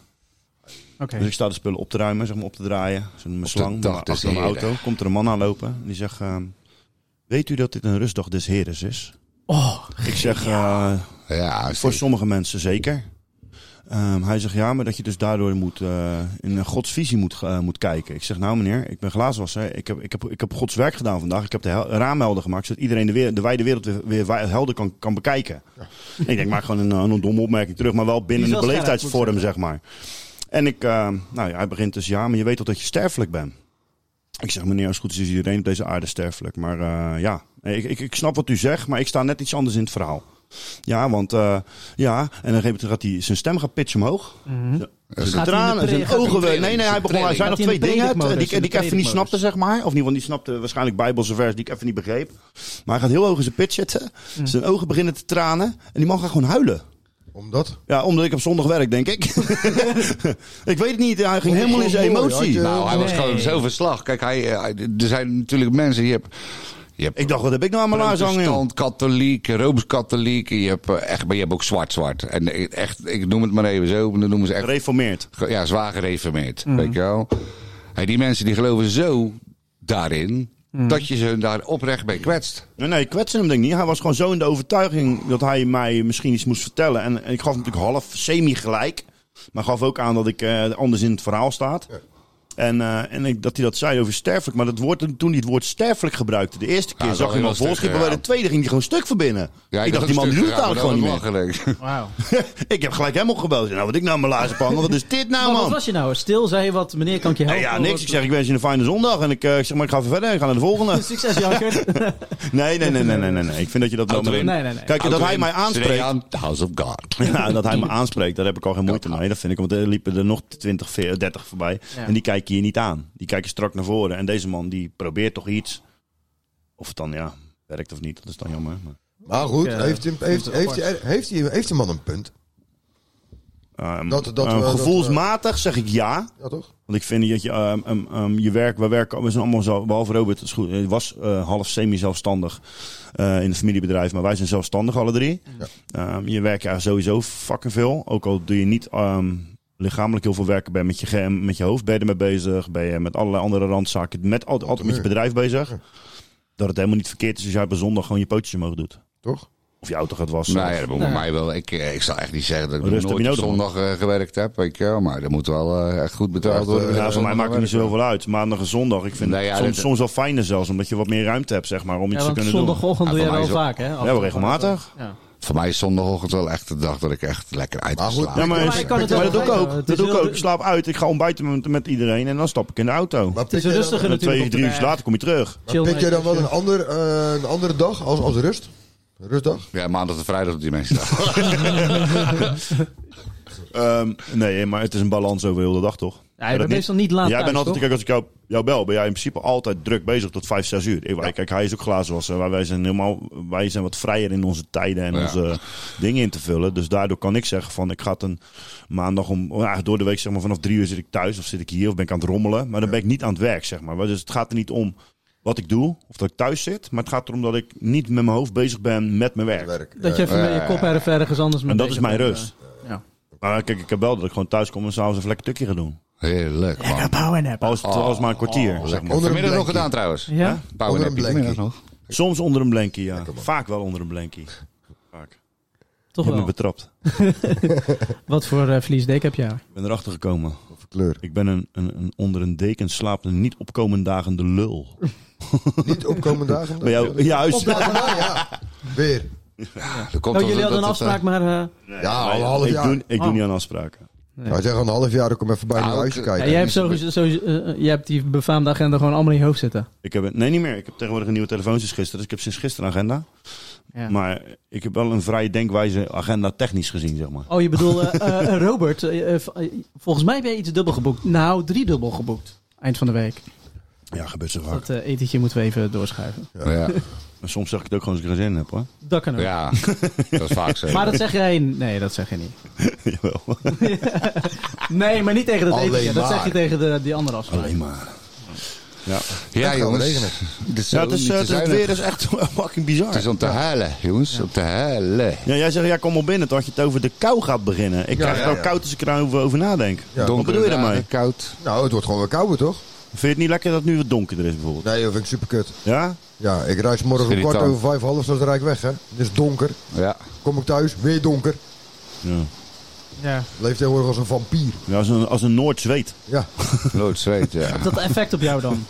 Oké.
Dus ik sta de spullen op te ruimen, zeg maar op te draaien. Zo'n mijn slang
dag
maar
des
achter mijn
Heren.
auto. Komt er een man aanlopen. En die zegt, ehm, weet u dat dit een rustdag des heres is?
Oh,
Ik zeg, eh,
Ja,
voor
zeker.
sommige mensen zeker. Ehm, hij zegt, ja, maar dat je dus daardoor moet, eh, in eh, Gods visie moet, eh, moet kijken. Ik zeg, nou meneer, ik ben glaaswasser. Ik heb, ik heb, ik heb Gods werk gedaan vandaag. Ik heb de hel- raam helder gemaakt, zodat iedereen de, weer, de wijde wereld weer, weer wa- helder kan, kan bekijken. Ik denk, maak gewoon een, een domme opmerking terug, maar wel binnen
Die
de
is wel scherp,
beleefdheidsvorm, zeg maar. En ik, eh, nou ja, hij begint dus, ja, maar je weet toch dat je sterfelijk bent? Ik zeg, meneer, als het goed is, is iedereen op deze aarde sterfelijk. Maar eh, ja, ik, ik, ik snap wat u zegt, maar ik sta net iets anders in het verhaal. Ja, want eh, ja, en op een gegeven moment gaat hij zijn stem gaat pitch omhoog. Zijn
Mhm. Gaat hij in de
tranen,
pre-
zijn
gaat hij in de
ogen. weer-
training?
Nee, nee, hij
Zijn
begon. Er
training?
zijn nog
Gaat hij
twee
in de
dingen
predikmodus?
hè, die, die,
In de
die ik even niet
predikmodus.
snapte, zeg maar. Of niet, want die snapte waarschijnlijk Bijbelse vers die ik even niet begreep. Maar hij gaat heel hoog in zijn pitch zitten.
Mm.
Zijn ogen beginnen te tranen. En die man gaat gewoon huilen.
Omdat?
Ja, omdat ik op zondag werk, denk ik. ik weet het niet. Hij ging helemaal in zijn
Mooi, had
emotie.
je-
Nou, hij was
Nee.
gewoon zo verslag. Kijk, hij, eh, hij- er zijn natuurlijk mensen, je hebt... Je hebt
Ik dacht, wat heb ik nou aan mijn laars hangen? joh?
protestant, katholiek, rooms-katholiek. Je hebt eh, echt, maar je hebt ook zwart-zwart. En eh, echt, ik noem het maar even zo. Dan noemen ze echt
Gereformeerd.
ge- ja, zwaar gereformeerd.
Mhm.
Weet je wel? Hey, die mensen die geloven zo daarin
Mhm.
dat je ze daar oprecht mee kwetst.
Nee, nee, ik kwetste hem denk ik niet. Hij was gewoon zo in de overtuiging dat hij mij misschien iets moest vertellen. En, en ik gaf hem natuurlijk half semi-gelijk. Maar gaf ook aan dat ik eh, anders in het verhaal staat. En, eh, en ik, dat hij dat zei over sterfelijk. Maar dat woord, toen hij het woord sterfelijk gebruikte, de eerste keer
Ja,
zag
dat
hij
ging wel
wel volschippen.
stuk,
Maar
ja.
bij de tweede ging hij gewoon stuk verbinnen.
Ja,
ik dacht, die man die doet het eigenlijk gewoon niet meer.
meer.
wauw.
ik heb gelijk hem opgebeld. Nou, wat ik nou mijn laarzen pan. Wat is dit nou,
Maar wat
man?
was je nou? Stil, zei je wat, meneer, kan ik je
Nee,
helpen?
ja, niks. Ik zeg, ik wens je een fijne zondag. En ik, eh, ik zeg, maar ik ga even verder. Ik ga naar de volgende.
Succes, Janker.
Nee, nee, nee, nee, nee, nee. nee. Ik vind dat je dat wel...
Auto in.
Nee, nee, nee.
Kijk, dat hij mij aanspreekt.
The House of God.
Ja, dat hij me aanspreekt, daar heb ik al geen moeite mee. Dat vind ik, want er liepen er nog 20, 40, 30 voorbij.
Ja.
En die kijken hier niet aan. Die kijken strak naar voren. En deze man, die probeert toch iets. Of het dan, ja, werkt of niet, dat is dan jammer. Maar,
Maar goed,
Ja,
heeft, heeft, heeft,
het
heeft,
apart.
heeft, heeft, die- heeft die man een punt?
ehm,
Dat- dat
ehm,
we- dat eh, we-
gevoelsmatig zeg ik ja.
Ja, toch?
Want ik vind dat je, ehm, ehm, ehm, je werk, we werken, we zijn allemaal zo, behalve Robert, het is goed, hij was eh, half semi-zelfstandig eh, in het familiebedrijf, maar wij zijn zelfstandig alle drie. Ehm, je werkt ja sowieso fucking veel, ook al doe je niet ehm, lichamelijk heel veel werken, ben je met je, ge- met je hoofd ben je ermee bezig, ben je met allerlei andere randzaken, met, altijd, altijd met je bedrijf bezig. Dat het helemaal niet verkeerd is als jij op een zondag gewoon je pootjes omhoog doet.
Toch?
Of je auto gaat wassen.
Nou ja, dat moet mij wel. Ik, eh, ik zal echt niet zeggen dat ik
Rust
nog
heb
nooit
je
op
nodig,
zondag eh, gewerkt heb. Weet je wel. Maar dat moet wel eh, echt goed betaald worden.
Ja, voor mij maakt het niet zoveel uit. Maandag en zondag. Ik vind
Nee, ja,
het soms,
dat-
soms wel fijner zelfs, omdat je wat meer ruimte hebt, zeg maar, om iets
Ja,
te
want
kunnen doen.
zondagochtend
Ja,
doe je
voor mij
wel
is wel-
vaak, hè?
Ja, wel regelmatig.
Ja.
Voor mij is zondagochtend wel echt de dag dat ik echt lekker uit
Maar
ga
goed,
slapen.
Ja, maar,
Maar ik kan het
maar
wel
dat doe ik
begrijpen.
ook.
Het is
Dat doe ik
heel-
ook. Ik slaap uit, ik ga ontbijten met, met iedereen en dan stap ik in de auto.
Maar
Het is
pik jij
rustiger
En
natuurlijk.
twee,
op
drie
de
uur
berg.
later kom je terug.
dan, pik jij dan wel
Chill,
een, ander, eh, een andere dag als, als rust? Rustdag?
Ja, maandag en vrijdag op die mensen daar.
Ehm, nee, maar het is een balans over heel de dag, toch?
Ja, je
Dat
bent meestal niet laat
Jij
thuis,
bent altijd,
toch?
kijk, als ik jou, jou bel, ben jij in principe altijd druk bezig tot 5, 6 uur. Ik, Kijk, hij is ook glazenwasser. Wij, wij zijn helemaal, wij zijn wat vrijer in onze tijden en
Ja.
onze dingen in te vullen. Dus daardoor kan ik zeggen van, ik ga het een maandag om, ja, door de week zeg maar, vanaf drie uur zit ik thuis of zit ik hier of ben ik aan het rommelen. Maar dan ben ik niet aan het werk, zeg maar. Dus het gaat er niet om wat ik doe of dat ik thuis zit. Maar het gaat erom dat ik niet met mijn hoofd bezig ben met mijn werk.
Werk.
Dat je even met je kop erf ergens anders mee
En dat is
bezig
mijn
bent,
rust.
eh, Ja.
Maar kijk, ik heb wel dat ik gewoon thuis kom en s'avonds even lekker tukje ga doen.
Heerlijk, man.
Power nap.
Als het was maar een kwartier, zeg maar.
Onder een
Vanmiddag nog
blankie.
gedaan trouwens.
eh. Ja?
Pauwen heb
Onder
je
een
vanmiddag
blankie.
nog.
Soms onder een blankie, ja. Vaak wel onder een blankie. Vaak.
Toch
Ik heb me
wel.
betrapt.
Wat voor eh vliesdek heb jij?
Ik ben erachter gekomen.
Kleur.
Ik ben een, een, een onder een deken slapende, niet opkomend dagende lul.
Niet opkomende dagen.
Bij jou, juist.
Opdagen, nou ja. Weer.
Dat komt
Nou,
Oh,
omdat
jullie hadden een
het, eh,
afspraak, maar... eh,
Ja, al een half
ik
jaar.
doe,
Oh.
ik doe niet aan afspraken.
Hij zegt al een half jaar, ik kom even bij naar
Ah,
huisje
ook,
kijken.
Nou, ja,
dan
jij, hebt
is het
sowieso, sowieso, eh, jij hebt die befaamde agenda gewoon allemaal in je hoofd zitten.
Ik heb, het- nee, niet meer. Ik heb tegenwoordig een nieuwe telefoon sinds gisteren. Dus ik heb sinds gisteren een agenda.
Ja.
Maar ik heb wel een vrije denkwijze agenda technisch gezien, zeg maar.
Oh, je bedoelt eh, eh, Robert. eh, eh, v- eh, volgens mij ben je iets dubbel geboekt. Nou, drie dubbel geboekt. Eind van de week.
Ja, gebeurt zo vaak.
Dat eh, etentje moeten we even doorschuiven.
Ja,
Maar soms zeg ik het ook gewoon als ik er geen zin in heb, hoor.
Dat kan ook.
ja, dat is vaak zo.
Maar dat zeg jij... Nee, dat zeg je niet.
Jawel.
Nee, maar niet tegen dat
Alleen
etentje. Dat
maar.
zeg je tegen de, die andere afspraak.
Alleen maar. Ja,
Ja, jongens.
regenen.
Het is,
ja
zo
het, is,
niet
eh,
te
het, is-
zuinig.
het weer is echt fucking bizar.
Het is om te huilen, jongens. Om te huilen.
Ja, jij zegt, ja, kom maar binnen. Toen had je het over de kou gaat beginnen. Ik krijg
ja,
het al
ja.
koud als ik erover over nadenk. Wat
Donkere
bedoel je
dagen,
daarmee?
eh, Koud.
Nou, het wordt gewoon weer kouder, toch?
Vind je het niet lekker dat het nu wat donkerder is bijvoorbeeld?
Nee, dat vind ik super kut.
Ja?
Ja, ik reis morgen om
Irritant.
kwart over vijf, half, dan rijd ik weg, hè. Het is donker.
Ja.
Kom ik thuis, weer donker.
Ja,
Ja.
Leef tegenwoordig als een vampier.
ja als, een, als een Noord zweet.
Ja,
Nooit zweet, ja.
Dat effect op jou dan?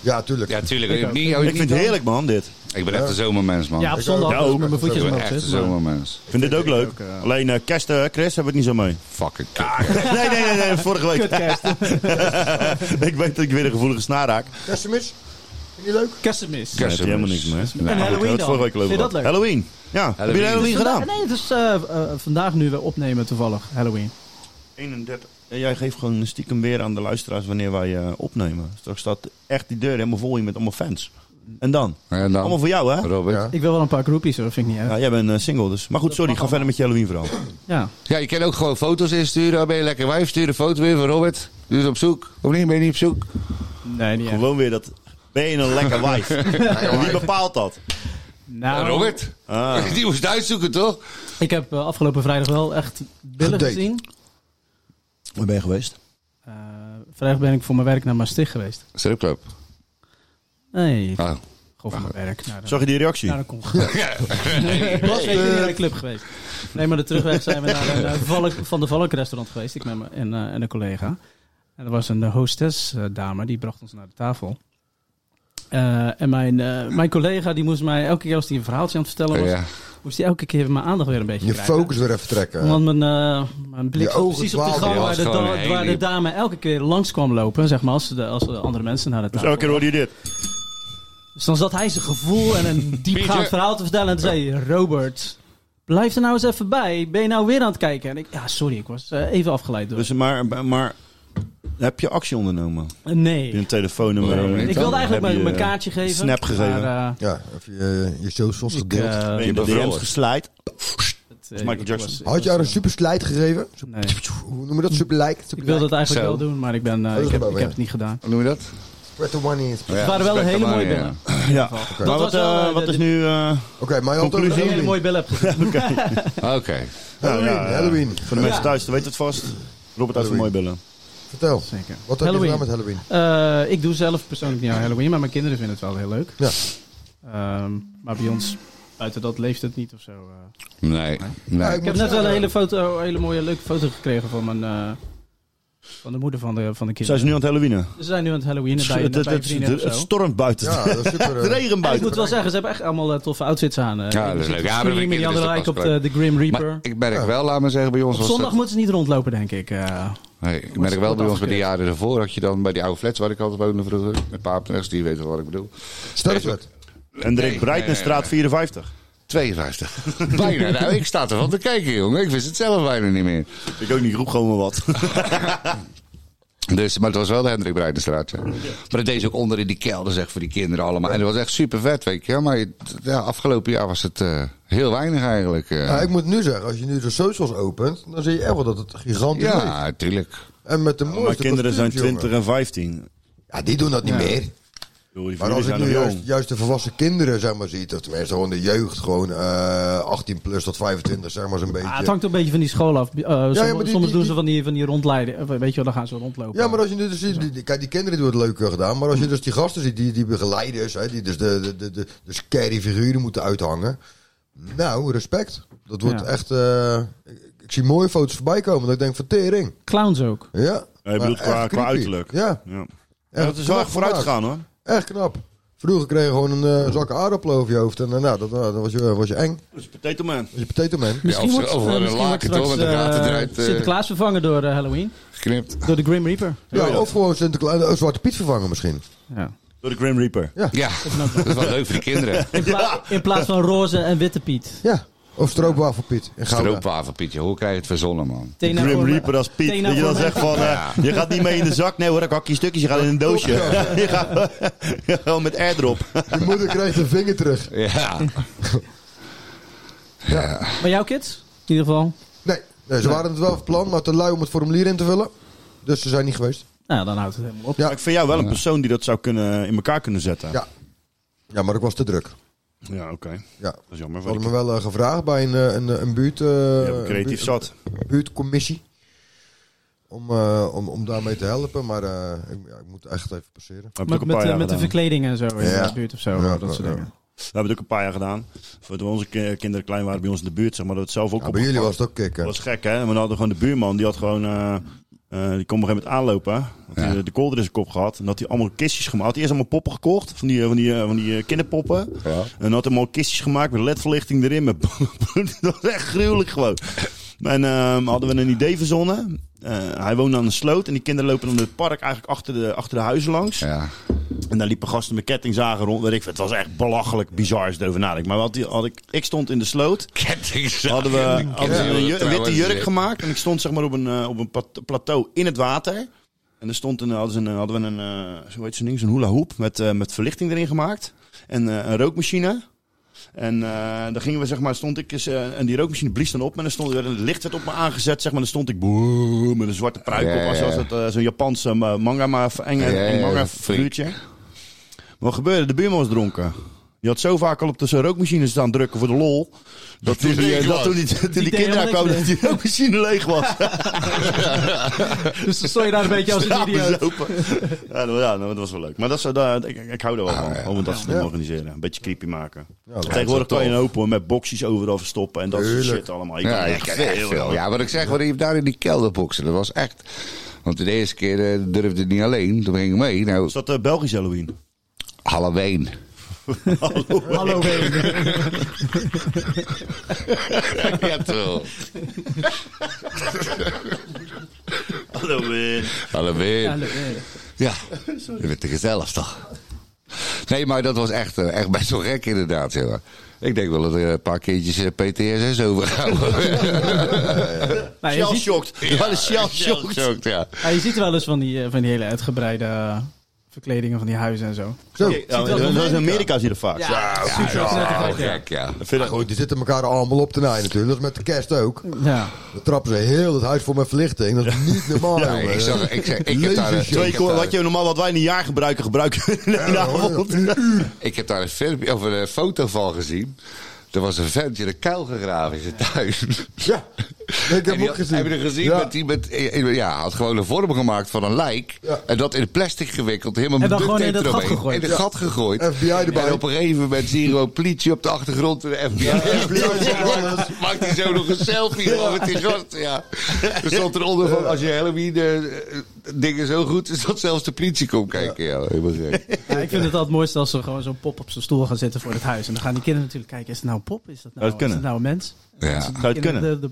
ja tuurlijk.
Ja, tuurlijk.
Ik
Ik,
ook.
niet, ook
Ik
niet
vind het
dan.
heerlijk man, dit.
Ik ben echt een zomermens, man.
Ja, op zondag.
Ja,
als ik
ook.
met mijn voetjes
ik ben
omhoog
echt een
zit. maar-
zomermens.
Ik vind dit ook leuk. Alleen eh kerst, eh, Chris, hebben we het niet zo mee.
Fucking kut.
Nee, nee, nee, nee, vorige week.
Kutkerst.
ik weet dat ik weer een gevoelige snaar raak. Nee,
Kerstmis? Vind je die leuk?
Kerstmis.
daar heb je helemaal niks meer.
En Halloween dan?
vorige week
Vind je
over
dat
gehad.
leuk?
Halloween. Ja, hebben jullie
Halloween
Halloween gedaan?
Nee, het is eh, eh, vandaag nu we opnemen toevallig. Halloween.
31. En jij geeft gewoon stiekem weer aan de luisteraars wanneer wij eh, opnemen. Straks staat echt die deur helemaal vol hier met allemaal fans. En dan?
En
Allemaal
dan,
voor jou, hè?
Robert.
Ja.
Ja.
Ik wil wel een paar groepies hoor, vind ik niet
Ja,
uit.
jij bent eh, single dus. Maar goed, sorry, ga verder met je Halloween verhaal.
Ja.
je kan ook gewoon foto's insturen. Dan ben je lekker wijf. Stuur een foto in van Robert. Die is op zoek. Of niet? Ben je niet op zoek?
Nee, niet echt.
Gewoon weer dat... Ben je een lekker wijf? En Wie bepaalt dat? Ah.
Nou,
Robert. Die moest uitzoeken, toch?
Ik heb eh, afgelopen vrijdag wel echt billen
Gedate.
gezien.
Waar ben je geweest?
Eh, vrijdag ben ik voor mijn werk naar Maastricht geweest.
Stripclub.
Nee,
Oh.
gewoon voor mijn werk. Naar de,
Zag je die reactie?
naar de congres.
Ja.
Ik ben niet naar de club geweest. Nee, maar de terugweg zijn we naar een eh, Valk, van de Valk restaurant geweest. Ik met me en, eh, en een collega. En er was een eh, hostess eh, dame, die bracht ons naar de tafel. Eh, en mijn, eh, mijn collega die moest mij elke keer als hij een verhaaltje aan het vertellen was,
Oh, Ja.
moest hij elke keer mijn aandacht weer een beetje
Je
krijgen.
focus weer even trekken.
Want mijn, eh, mijn blik
Je
zat
ogen
precies op de
dwaalden.
gang
Je
waar
was
de,
gewoon
da-
een
waar de
hele-
dame elke keer langs kwam lopen, zeg maar, als, ze de, als de andere mensen naar de
Dus
tafel
elke keer hoorde je dit.
dus dan zat hij zijn gevoel en een diepgaand
Pieter.
verhaal te vertellen. En toen zei hij, Robert, blijf er nou eens even bij. Ben je nou weer aan het kijken? En ik, ja, sorry, ik was eh, even afgeleid door.
Dus maar, maar heb je actie ondernomen? Heb je
nee.
een telefoonnummer?
Nee,
eh,
niet.
Ik wilde eigenlijk
heb
mijn,
je,
mijn
eh,
kaartje geven.
snap gegeven.
Maar, eh,
Ja, of je eh, je socials
ik,
gedeeld.
eh,
ben je de
bevroren.
DM's geslaaid?
het, eh,
Michael
ik
Jackson.
was- ik
Had je
was,
haar een super slide gegeven? Zo-
Nee.
Hoe noem je dat? Super like?
Ik wilde het eigenlijk
Zo.
wel doen, maar ik, ben, eh,
Zo is
ik, heb,
het
ik
ook,
heb
ja.
het niet gedaan.
Hoe noem je dat?
Spread the money
Oh,
in. Oké,
Ja,
Het waren wel
respect
hele
aan
mooie
mij,
billen.
Ja.
Dat
Maar
was
wat,
wel,
eh,
eh,
wat
de-
is nu... eh,
maar je had ook
Dat ik een hele
Halloween.
mooie bel heb gezien.
ja. Oké.
Halloween,
Ja, ja.
Halloween.
Voor de mensen thuis, dat weten het vast. Robert uit van
Halloween.
Mooibellen.
Vertel,
Zeker.
wat heb je
Halloween.
gedaan met Halloween?
Eh, ik doe zelf persoonlijk niet aan Halloween, maar mijn kinderen vinden het wel heel leuk.
Ja.
Ehm, maar bij ons, buiten dat leeft het niet of zo. eh.
Nee.
Ja,
nee.
Nou, Ik heb net wel een hele, foto, een hele mooie, leuke foto gekregen van, mijn, eh, van de moeder van de, van de
Zijn
kinderen.
ze nu aan het Halloweenen?
Ze zijn nu aan het Halloween
Het,
bij,
het,
bij
het,
vrienden of
het,
zo.
stormt buiten.
Ja, dat is super.
Het
eh,
regen
En ik
buiten.
moet wel zeggen, ze hebben echt allemaal eh, toffe outfits aan. eh.
Ja, dat is
Die
leuk.
zitten
Ja,
te
maar
screamen,
bij
die andere
kinderen
lijkt
is dat
op eh, de, de Grim
Maar
Reaper.
ik merk wel, laat me zeggen, bij ons
Op
was
zondag
dat...
moeten ze niet rondlopen, denk ik. eh.
Nee, ik
wordt
merk wel bij ons bij
afgekeurd.
de jaren ervoor had je dan bij die oude flats waar ik altijd woonde vroeger. Met Paapnechts, die weten wat ik bedoel.
Sterfwet.
En Dirk Breitenstraat 54.
52. bijna. Nou, ik sta ervan te kijken, jongen. Ik wist het zelf bijna niet meer.
Ik ook niet, roep gewoon maar wat.
Dus, maar het was wel de Hendrik Breidenstraat. Ja. Maar dat deed ze ook onder in die kelder, zeg, voor die kinderen allemaal. En dat was echt super vet, weet je. Maar je- ja, afgelopen jaar was het eh, heel weinig eigenlijk. eh.
Ja, ik moet nu zeggen, als je nu de socials opent, dan zie je echt wel dat het gigantisch is.
ja, tuurlijk.
En met de
Maar
mooiste
kinderen zijn
kostuums,
20
jongen.
en 15.
Ja, die doen dat niet
Ja.
meer.
Joh, die
Maar
jullie
als ik
zijn
nu
nog
juist,
jong.
juist de volwassen kinderen zeg maar, ziet, of tenminste gewoon de jeugd, gewoon eh, 18 plus tot 25, zeg maar zo'n beetje.
Ah, het hangt ook een beetje van die school af. Eh, soms
maar die-
soms
die-
doen ze van die, van die rondleiden. Eh, Weet je wel, dan gaan ze rondlopen.
Ja, maar als je nu dus ziet, die- die- kijk, die kinderen doen het leuker gedaan, maar als je dus die gasten ziet, die, die begeleiders, hè, die dus de, de, de, de, de scary figuren moeten uithangen. Nou, respect. Dat wordt
Ja.
echt, eh, ik, ik zie mooie foto's voorbij komen, dat ik denk van tering.
Clowns ook.
Ja.
Ja, je bedoelt
Maar
qua,
echt
qua
creepy.
uiterlijk.
Ja,
Ja.
echt
dat is wel
knap
echt vooruit
gemaakt.
gegaan hoor.
Echt knap. Vroeger kreeg je gewoon een eh, zak aardappelen over je hoofd en eh, nou, dat, eh, dan was je, was je eng.
Dat is potato man.
Was je potato man.
Misschien
of ze
wordt, eh,
over een
misschien wordt
laken door,
straks,
want de gaten
eh,
eruit, eh.
Sinterklaas vervangen door eh, Halloween.
Geknipt.
Door de Grim Reaper.
Ja, of gewoon Sinterklaas, eh, Zwarte Piet vervangen misschien.
Ja.
Door de Grim Reaper.
Ja, dat is wel leuk voor de kinderen.
In, pla- in plaats van roze en witte Piet.
Ja. Of stroopwafelpiet in Gouda.
Stroopwafel, Pietje. Hoe krijg je het verzonnen, man?
Tena
Grim
voor-
Reaper als Piet.
Tena
Dat je dan
voor-
zegt van, eh, je gaat niet mee in de zak. Nee hoor, ik hak je stukjes. Je gaat in een doosje. je gaat gewoon met airdrop.
Je moeder krijgt een vinger terug.
Ja.
Maar jouw kids? In ieder geval.
Nee, nee ze waren het wel van plan, maar te lui om het formulier in te vullen. Dus ze zijn niet geweest.
Nou, dan houdt het helemaal op.
Ja.
Maar ik vind jou wel een persoon die dat zou kunnen, in elkaar kunnen zetten.
Ja. Ja, maar ik was te druk.
Ja, oké.
Ja.
Dat is jammer.
Ze
voor
hadden
die
me wel eh, gevraagd bij een, eh, een, eh, een buurt... eh,
kinderen. Die hebben
een
creatief
buurt-
zat.
een buurtcommissie. Om, eh, om, om daarmee te helpen, maar eh, ik, ja, ik moet echt even passeren.
Dat heb ik ook
Met,
een
met,
paar
eh,
jaar
met de
gedaan.
verkleding en zo in
Ja.
de buurt of zo.
Ja,
dat soort
ja,
dingen.
We hebben het ook een paar jaar gedaan. Voor toen onze ki- kinderen klein waren bij ons in de buurt, zeg maar, dat we het zelf ook
Ja, bij jullie was het ook kicken.
Dat was gek, hè? Maar dan hadden we gewoon de buurman, die had gewoon... eh, eh, die kon op een gegeven moment aanlopen. Had hij de- de kolder in zijn kop gehad. En had hij allemaal kistjes gemaakt. Had hij eerst allemaal poppen gekocht. Van die, eh, van die, eh, van die eh, kinderpoppen. En dan had hij allemaal kistjes gemaakt met ledverlichting erin. Met dat was echt gruwelijk gewoon. En ehm, hadden we een idee verzonnen. Eh, hij woonde aan de sloot. En die kinderen lopen dan het park eigenlijk achter de, achter de huizen langs.
Ja.
En daar liepen gasten met kettingzagen rond. Weet ik, veel. het was echt belachelijk bizar als je erover nadenkt. Maar wat die, had ik, ik stond in de sloot.
Kettingzaag.
Hadden we, hadden we een, ju- een witte
Trouwens,
jurk gemaakt. En ik stond zeg maar op een, eh, op een plat- plateau in het water. En er stond een, hadden, ze een, hadden we een, eh, hoe heet zo'n ding, zo'n hula hoop met, eh, met verlichting erin gemaakt. En eh, een rookmachine. En eh, dan gingen we, zeg maar, stond ik eens, eh, en die rookmachine blies dan op. En dan stond, werd- het licht werd op me aangezet, zeg maar. Dan stond ik boem, met een zwarte pruik
Ja,
op. Als,
ja,
als
ja.
dat, eh, zo'n Japanse eh, manga, maar eng,
Ja, ja,
eng
ja,
manga
dat freak.
figuurtje. Maar wat gebeurde? De buurman was dronken. Die had zo vaak al op de zijn rookmachine staan drukken voor de lol. Dat toen die, eh, dat toen die, toen die
deed
kinderen
helemaal
kwamen,
niks
dat die rookmachine leeg was.
Dus dan stond je daar een beetje als een
Ja,
idioot.
bezopen. ja, nou, ja, nou, dat was wel leuk. Maar dat zou, daar, ik, ik hou er
Ah,
wel van. Om dat soort dingen organiseren. Een beetje creepy maken. Tegenwoordig kan je een hoop hoor, met boxjes overal verstoppen en dat soort
Tuurlijk.
shit allemaal. Je
Ja,
kan
je
echt
krijgt
heel
veel.
veel.
Ja, wat ik zeg, wat hij daar in die kelder boksen, dat was echt... Want de eerste keer eh, durfde hij niet alleen, toen ging ik mee. Nou,
Is dat eh, Belgisch Halloween?
Halloween.
Hallo, Wayne.
ja, toch.
Halloween.
Halloween.
Hallo, Wayne.
Ja, je bent te gezellig toch? Nee, maar dat was echt, eh, echt best wel gek inderdaad. Zeg maar. Ik denk wel dat er een paar keertjes eh, PTSS overhouden.
Nou, je,
Shell
ziet,
shocked. Ja, de shell shocked.
Shocked, ja.
ja, je ziet wel eens van die, eh, van die hele uitgebreide eh, verkledingen van die huizen en zo.
Zo.
Ja, dat is in Amerika zie je dat vaak.
Ja, super
Heel gek, ja.
Dat vind
Ja,
ik-
goed, die zitten elkaar allemaal op te naaien natuurlijk. Dat is met de kerst ook.
Ja.
Dan trappen ze heel het huis voor met verlichting. Dat is niet normaal.
Nee,
jongen.
ik zag, ik zeg, ik heb daar,
Levensje.
ik
Twee
heb
ko-
daar-
wat je normaal wat wij in een jaar gebruiken, gebruiken we in één
Ja, hoor.
avond.
Ik heb daar een, filmpje, of een foto van gezien. Er was een ventje de kuil gegraven in zijn tuin.
Ja, ik
En
heb
die
ook
had-
gezien.
Heb je er gezien?
Ja.
Met die met, eh, ja, had gewoon een vorm gemaakt van een lijk.
Ja.
En dat in plastic gewikkeld. Helemaal
En
met
dan
duct tape
gewoon in dat gat
eromheen.
gegooid.
In het
Ja.
gat gegooid.
FBI erbij.
En op een gegeven moment zie je gewoon politie op de achtergrond. En de FBI. Maakt hij zo nog een selfie van met die gast. Ja. Er stond eronder van, als je Halloween eh, dingen zo goed is, dat zelfs de politie komt kijken. Ja, helemaal gek.
Ja, ik vind het altijd het mooiste als ze gewoon zo'n pop op zijn stoel gaan zitten voor het huis. En dan gaan die kinderen natuurlijk kijken, is het nou een pop? Is dat nou,
Zou het
is
kunnen?
dat nou een mens?
Ja.
Zou je het kunnen?
De- de-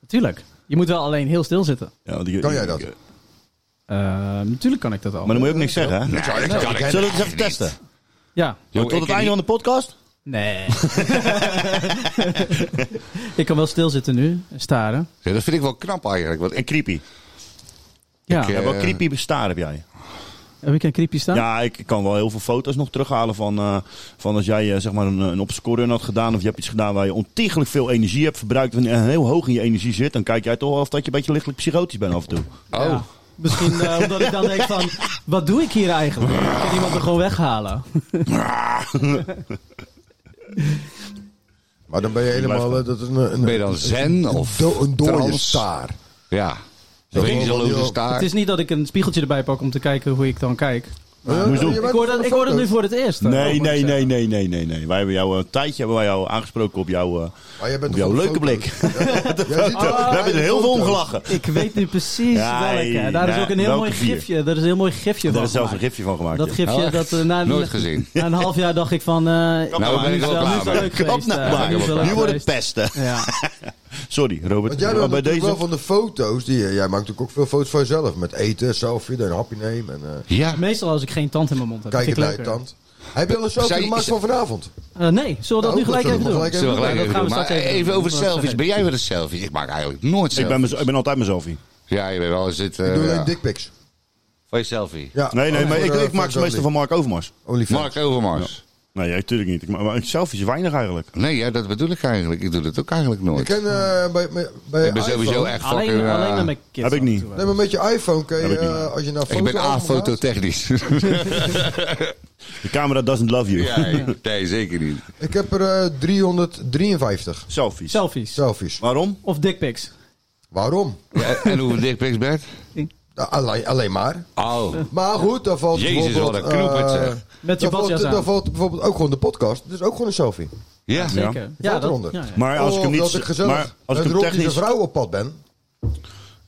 natuurlijk. Je moet wel alleen heel stil zitten.
Ja, want die-
Kan jij dat?
Maar
Eh, natuurlijk kan ik dat al.
dan moet je ook niks zeggen, hè?
Nou, dat kan ik
Zullen we het eens even
niet.
testen?
Ja.
Jongen,
Tot
ik heb
het einde van de podcast?
Nee. ik kan wel stilzitten nu en staren.
Ja, dat vind ik wel knap eigenlijk. Want en creepy.
Ja.
eh,
Wat creepy bestaar heb jij?
Heb ik een creepy staan?
Ja, ik ik kan wel heel veel foto's nog terughalen van, eh, van als jij eh, zeg maar een, een opscoren had gedaan. Of je hebt iets gedaan waar je ontiegelijk veel energie hebt verbruikt. En eh, heel hoog in je energie zit. Dan kijk jij toch wel of dat je een beetje lichtelijk psychotisch bent af en toe.
Oh.
Misschien eh, omdat ik dan denk van, wat doe ik hier eigenlijk? Ik kan iemand er gewoon weghalen.
Maar dan ben je helemaal... eh, Dat is een, een,
Ben je dan zen of
do- een dode
trans?
staar.
Ja.
Dat is wel
Wezenloze
heel-
staar.
Het is niet dat ik een spiegeltje erbij pak om te kijken hoe ik dan kijk.
Eh,
Moest doen.
je bent
Ik hoor dat,
van de
ik hoor dat nu
foto's.
voor het eerst. eh,
Nee,
moet ik
nee,
zeggen.
nee, nee, nee, nee, nee. Wij hebben jou eh, een tijdje hebben wij jou aangesproken op jouw, eh,
Maar jij bent van
op jouw
de
leuke
foto's.
blik.
Jij ziet
We hebben er heel veel om gelachen.
Ik weet nu precies
Ja,
welke. Daar is
ja,
ook een heel mooi
welke vier?
gifje. Daar is een heel mooi gifje
Daar
van.
is zelf een
gemaakt.
gifje van gemaakt.
Dat
ja.
gifje,
Oh,
dat eh, na,
Nooit gezien.
na een half jaar dacht ik van... eh
nou ben ik
nu
er
is
wel
wel- nu
klaar
is wel
mee.
leuk
Kap
geweest.
nou
eh,
maar.
nu is wel
Nu
leuk
wordt het
geweest.
pesten.
Ja.
Sorry, Robert.
Want jij doet
Maar bij
natuurlijk
deze...
wel van de foto's. Die, jij maakt natuurlijk ook veel foto's van jezelf. Met eten, selfie, dan een hapje nemen. En, eh,
Ja.
Meestal als ik geen tand in mijn mond heb.
kijken
vind ik
naar je
leuker.
tand. Heb je al een selfie
Zij-
gemaakt van vanavond?
Eh, nee, zullen we dat
Nou,
nu gelijk
dat
even
zullen we
doen?
gelijk
Zullen we gelijk
Ja,
even
dat gaan we
doen.
straks
Maar
even
even
doen.
over
Dat gaan we
selfies.
straks
Ben jij wel een selfie? Ik maak eigenlijk nooit
Ik
selfies.
ben, mez- ik ben altijd mijn selfie.
Ja, je bent wel eens dit...
Ik doe
eh,
alleen
ja.
dickpics.
Van je selfie.
Ja,
Nee, nee,
alleen
maar
voor,
ik,
eh,
ik maak ze meestal van Mark Overmars.
OnlyFans.
Mark Overmars.
Nee, ja, natuurlijk niet. Ik, ma- maar selfies is weinig eigenlijk.
Nee, ja, dat bedoel ik eigenlijk. Ik doe dat ook eigenlijk nooit.
Ik ken eh, bij, bij, bij
Ik ben sowieso
iPhone-
echt fucking...
Alleen, alleen
eh,
met mijn kids.
heb ik
af en
niet.
toe.
Nee, maar met je iPhone kun je,
Heb ik niet.
eh, als je naar
ik ben
foto
afototechnisch.
De camera doesn't love you.
ja, nee, zeker niet.
Ik heb er eh, 353
Selfies.
Selfies.
selfies.
Waarom?
Of dickpics.
Waarom?
Ja, en hoeveel dickpics, Bert?
Nou, alleen, alleen maar.
Oh.
Maar goed, daar valt
Jezus,
bijvoorbeeld...
wat een knoep het,
eh,
zeg.
Met je
daar valt-
badjas aan.
Daar valt bijvoorbeeld ook gewoon de podcast. Dat is ook gewoon een selfie.
Ja.
Zeker. Ja,
Valt
dat,
eronder.
ja, ja.
Maar als ik hem
Omdat
niet...
ik Oh, gezellig
maar als ik
met Rob
hem
die de
technisch...
vrouw op pad ben.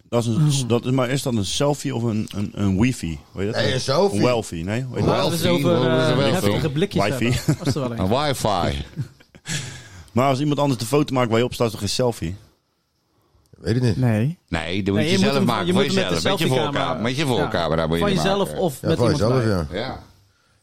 Dat is een, dat is, maar is dat een selfie of een, een, een wifi? Hoe heet dat?
Nee, een selfie.
Een welfie, nee? Hoe heet dat?
Laten we het
Wealthy,
over
dat is
eh,
wel
heftige
veel.
blikjes
Wifi.
hebben. Als er wel een.
Een wifi.
Maar als iemand anders de foto maakt waar je op staat, is toch geen selfie?
Weet ik niet.
Nee.
Nee, die moet
Nee,
je,
je moet
zelf
hem-
maken.
je
voor
moet hem met
jezelf.
de
Met je
selfiecamera-
voorcamera. Met je
Ja.
voorcamera moet je
Van
die
jezelf
maken.
of
Ja,
met
voor
iemand
jezelf,
bij.
ja.
Ja.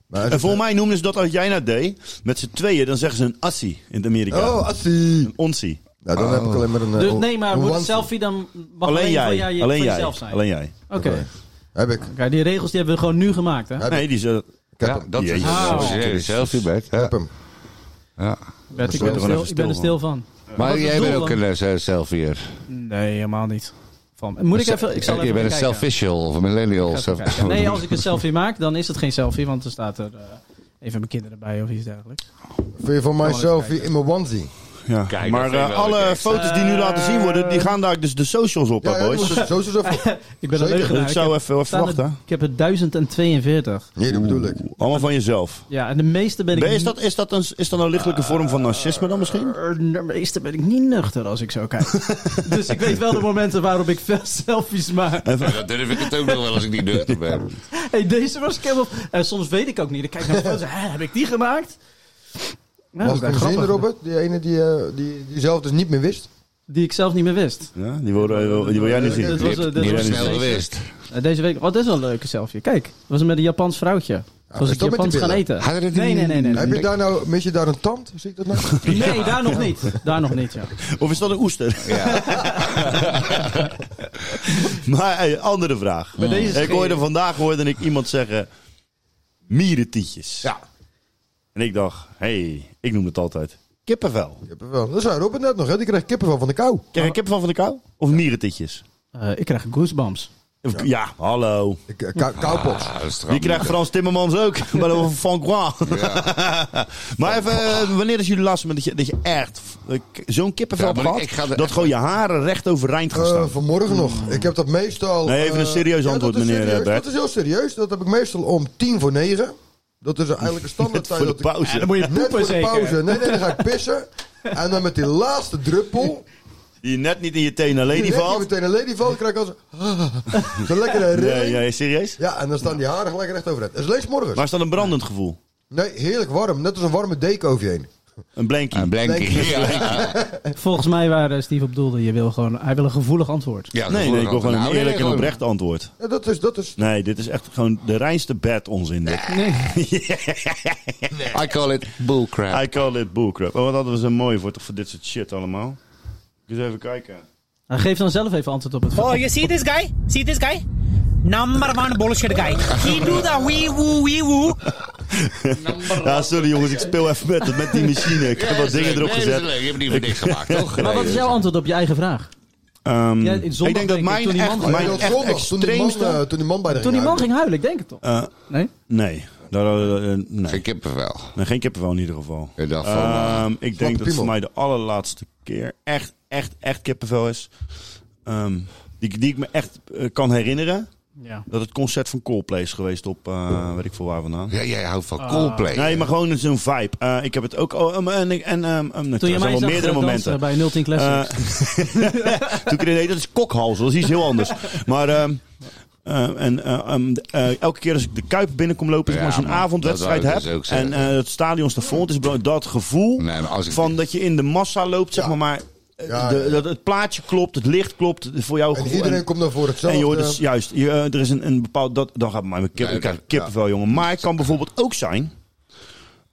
Maar als
En
je-
volgens mij noemden ze dat als jij dat deed, met z'n tweeën, dan zeggen ze een assie in het Amerika.
Oh, assie.
Een onsie.
Nou, dan heb ik alleen maar een... eh,
Dus, nee, maar moet
one-
een selfie dan mag
Alleen
van
jij.
jou- je-
Alleen
van
jij.
eh, jezelf zijn?
Alleen jij.
Oké.
Oké. Heb ik.
Oké, die regels die hebben we gewoon nu gemaakt, hè?
Heb
Nee, die is... eh,
Ik heb
Ja,
hem.
dat is
Jezus.
een
Ah.
serieuze selfie, Bert.
Ik
dus- Ja.
heb hem.
Ja.
Bert, ik
er
ben,
gewoon
stil,
even
ik ben er
stil
stil van. Wat
Maar
is
jij
het
bent
doel
ook een
dan?
eh, selfieer.
Nee, helemaal niet. Van. Moet ik even... Ik zal
Je
even
bent een
kijken.
selficial of een millennial.
Ik ga even kijken. Nee, als ik een selfie maak, dan is het geen selfie, want er staat er eh, even mijn kinderen bij of iets dergelijks.
Vind je van
Gewoon
mij
even
selfie in mijn onesie?
Ja.
Kijk, dat
maar
vind ik
eh,
wel
alle
leuk, hè.
foto's die nu laten zien worden, die gaan daar dus de socials op,
Ja,
hè,
ja,
boys.
dat dus- is- zo is het zo.
Ik ben een
Zeker.
Dus
leugenaar.
ik zou even even
staan er-
wachten.
Ik heb er 1042.
Nee, dat bedoel ik.
Allemaal van jezelf.
Ja, en de meeste ben ik
Ben- Is
niet-
dat, is, dat een, is dat een lichtelijke vorm van narcisme dan misschien?
Eh, De meeste ben ik niet nuchter als ik zo kijk. dus ik weet wel de momenten waarop ik veel selfies maak.
Dat durf ik het ook nog wel als ik niet nuchter ben.
Hey, deze was ik helemaal... En soms weet ik ook niet. Dan kijk ik naar foto's. Hè, heb ik die gemaakt? Nou,
Mag
dat
ik
is
hem zien,
grappig.
Robert? Die ene die, eh, die, die zelf dus niet meer wist.
Die ik zelf niet meer wist.
Ja, die, worden, die wil jij niet
Dat
zien.
was, eh, dat
Niet
was
snel
deze-
geweest.
eh, Deze week... Oh, dit is wel een leuke selfie. Kijk, dat was met een Japans vrouwtje. Zoals
Ah, is
ik
dat met die
Japans gaan
billen?
eten.
Had er het
Nee,
niet-
nee, nee. nee, nee.
Heb je daar nou, mis je daar een tand? Zie ik dat nou?
Nee, daar nog niet. Daar nog niet, ja.
Of is dat een oester? maar hey, andere vraag.
Bij deze
Ik
schreeuw-
hoorde vandaag hoorde ik iemand zeggen mierentietjes.
Ja.
En ik dacht, hé, hey, ik noem het altijd kippenvel.
Kippenvel. Dat zei Robert net nog, hè? Die kreeg kippenvel van de kou.
Krijg je kippenvel van de kou? Of mierentietjes?
Eh, ik krijg goosebumps.
Of- ja. hallo.
Ik, eh, kou- Koupops.
Ah, dat is toch
Die krijgt Frans Timmermans ook. Maar dat was van Croix. maar even, eh, wanneer is jullie laatste moment dat je, dat je echt eh, k- zo'n kippenvel
Ja,
hebt
maar
gehad?
ik ga er
dat
echt-
gewoon je haren recht overeind gaan
Eh
staan.
vanmorgen nog. Ik heb dat meestal...
Hmm. Nee, even een
eh,
serieus antwoord,
dat is
meneer,
serieus.
eh, Bert.
Dat is heel serieus. Dat heb ik meestal om tien voor negen. Dat is eigenlijk een standaard tijd.
voor de
dat ik-
pauze.
dan moet je
Net voor
poepen
de
zeker.
pauze. Nee, nee, dan ga ik pissen. En dan met die laatste druppel...
Die net niet in je tenen
die
lady
leg je
valt.
meteen een ladyval, krijg ik als... Zo'n lekkere rilling.
Nee, nee, serieus?
Ja, en dan staan die haren gelijk recht overheid. Dat is lees morgens.
Maar is dat een brandend gevoel?
Nee, heerlijk warm. Net als een warme deken over je heen.
Een blankie.
Een blankie. Ja.
Volgens mij waar eh, Steve op doelde, je wil gewoon, hij wil een gevoelig antwoord.
Ja,
nee, nee, ik wil gewoon
Nou,
een eerlijk en
gewoon-
oprecht antwoord.
Ja, dat is, dat is...
Nee, dit is echt gewoon de reinste bad onzin. Dit.
I call it bullcrap.
I call it bullcrap. Oh, wat hadden we zo mooi voor, toch, voor dit soort shit allemaal. Eens even kijken.
Hij geeft dan zelf even antwoord op het
Oh, you see this guy? See this guy? Number one bullshit guy. He do the wee woo wee woo.
Ja, sorry jongens, ik speel even met, met die machine. Ik heb wat dingen erop gezet.
Je hebt niet voor niks gemaakt, toch?
Maar wat is jouw antwoord op je eigen vraag?
Ehm,
Ja, in zondag
ik denk dat
denk ik,
mijn
toen die
echt,
man-
Maar
mijn
dat
echt
zondag, toen die, man, eh,
extreemste...
toen die man bij de
Toen die man
ging
ging huilen, ik denk het toch?
Eh,
nee?
nee. Daar, eh, eh, nee.
Geen kippenvel.
Nee, geen kippenvel in ieder geval.
Ik dacht van, eh,
Ehm, ik denk dat het
piemel.
voor mij de allerlaatste keer echt, echt, echt kippenvel is. Ehm, die, die ik me echt eh, kan herinneren.
Ja.
Dat het concert van Coldplay is geweest op, eh, weet ik veel waar vandaan.
Ja, jij houdt van Coldplay.
Nee, maar gewoon zo'n vibe. Eh, ik heb het ook... Oh, ehm, en, ik- en, ehm, ehm,
Toen je
er
mij
zijn wel
zag
meerdere
meerdere
momenten.
bij 010 Classics.
Eh, toen ik nee, dat is kokhals, dat is iets heel anders. Maar ehm, ehm, en, eh, ehm, de- eh, elke keer als ik de Kuip binnenkom lopen, zeg maar,
Ja,
als ik een
man,
avondwedstrijd
dat
heb
wou ik dus ook
en
zeggen.
eh, het stadion staat vol, het is belangrijk, dat gevoel
Nee, maar als ik-
van dat je in de massa loopt, zeg maar, maar eh,
Ja,
de,
ja.
dat het plaatje klopt, het licht klopt voor jouw
En
gevoel.
iedereen
Oh, En-
komt dan voor
en
hetzelfde.
joh, dus juist, je, eh, er is een, een bepaald. Dat, dan gaat mijn kip,
Nee,
ik krijg
dat-
kippenvel, jongen. Maar het kan bijvoorbeeld ook zijn.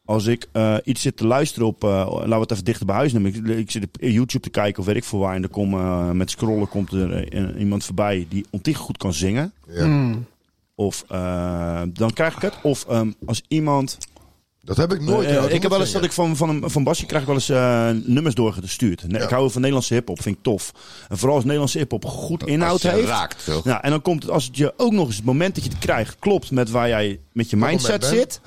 Als ik eh, iets zit te luisteren op. eh, laten we het even dichter bij huis nemen. Ik, ik zit op YouTube te kijken of weet ik veel waar. En er kom, eh, met scrollen komt er eh, iemand voorbij die ontiegelijk goed kan zingen.
Ja.
Of eh, dan krijg ik het. Of ehm, als iemand.
Dat heb ik nooit.
Eh,
ja,
ik heb wel eens dat
moet
ik van, van, van Basje krijg ik wel eens eh, nummers doorgestuurd. Nee,
Ja.
Ik hou van Nederlandse hip-hop, vind ik tof. En vooral als Nederlandse hip-hop goed inhoud
Als je
heeft.
raakt, toch?
Ja, en dan komt het, als het je ook nog eens het moment dat je het krijgt, klopt met waar jij met je mindset
moment bent.
zit.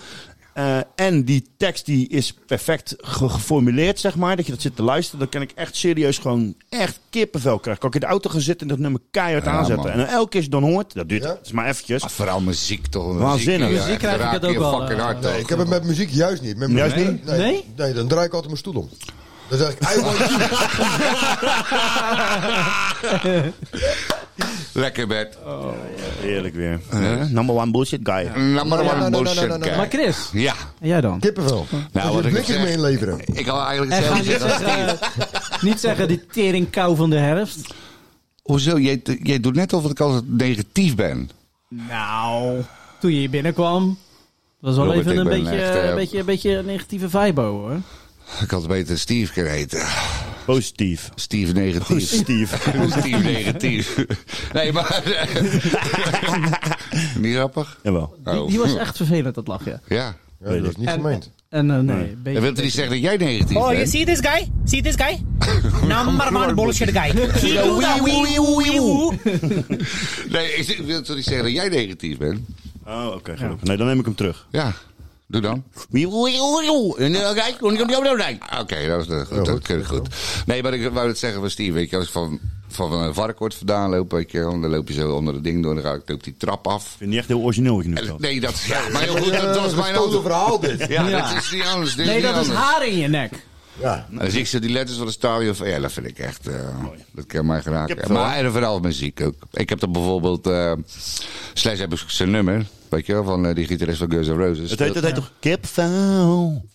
Eh, en die tekst die is perfect ge- geformuleerd, zeg maar. Dat je dat zit te luisteren. Dan kan ik echt serieus gewoon echt kippenvel krijgen. Kan ik in de auto gaan zitten en dat nummer keihard
Ja,
aanzetten.
man.
En dan elke keer als je dan hoort, dat duurt
Ja.
het is maar eventjes.
Maar Ah, vooral muziek toch?
Waanzinnig.
ja,
Muziek krijg ik
raak
het
je
ook wel,
fucking
eh,
hard,
zeggen.
toch?
Ik heb het met muziek juist niet. Met muziek-
Juist niet?
Nee,
Nee?
nee, dan draai ik altijd mijn stoel om. Dan zeg ik, I want you.
Lekker bed.
Heerlijk weer. Eh, number one bullshit guy.
Number
Ja,
one
nou, nou, nou,
bullshit
nou, nou,
guy.
Maar Chris,
Ja.
en jij dan?
Kippenvel. Nou,
wat
wat
ik
ik blikjes
zeg-
mee inleveren.
Ik had eigenlijk
En ga
hetzelfde
niet
zeggen. als
zeggen, eh, niet zeggen die teringkou van de herfst.
Steve. Hoezo? Jij, jij doet net alsof ik altijd negatief ben.
Nou, toen je hier binnenkwam, was wel
Robert,
even
ik
een
ben
beetje,
echt, eh,
een, beetje, een beetje een negatieve vibe hoor.
Ik had beter Steve kunnen heten.
Positief.
Steve negatief.
Oh,
Positief.
Steve negatief. Nee, maar... eh, Niet grappig? Oh.
Jawel.
Die, die was echt vervelend, dat lachje.
Ja.
Ja, dat is niet
En-
gemeend.
En eh, nee,
Nee.
een
Dat
beetje-
wil niet zeggen dat jij negatief
Oh, you
bent.
see this guy? See this guy? Number one bullshit guy. He do
nou-
the wee woo wee woo.
Nee, ik ik wil toch niet zeggen dat jij negatief bent?
Oh, oké, gelukkig. Nee, dan neem ik hem terug.
Ja. Doe dan. eh, Oké, dat, is, eh, goed, dat kun je goed. Nee, maar ik wou het zeggen van Steve. Weet je, als ik van, van, van een varkort vandaan loop, weet je, dan loop je zo onder het ding door. Dan ga ik loop die trap af.
Vind je niet echt heel origineel wat je nu
En-
vertelt.
Nee, dat, ja, maar heel goed, dat was mijn
Gestolen
auto.
verhaal dit.
Ja,
Ja.
dat is niet anders. dit
nee,
niet
dat is
anders.
haar in je nek. Nou,
Ja.
En Nou, Dan zie ik zo die letters van de stadion. Van, ja, dat vind ik echt. eh, dat kan mij geraken.
Ik heb het
maar en vooral muziek ook. Ik heb dan bijvoorbeeld. eh Slash heb ik zijn nummer. Weet je wel, van eh, die gitarist van Guns N' Roses.
Het heet, het heet toch kipvel?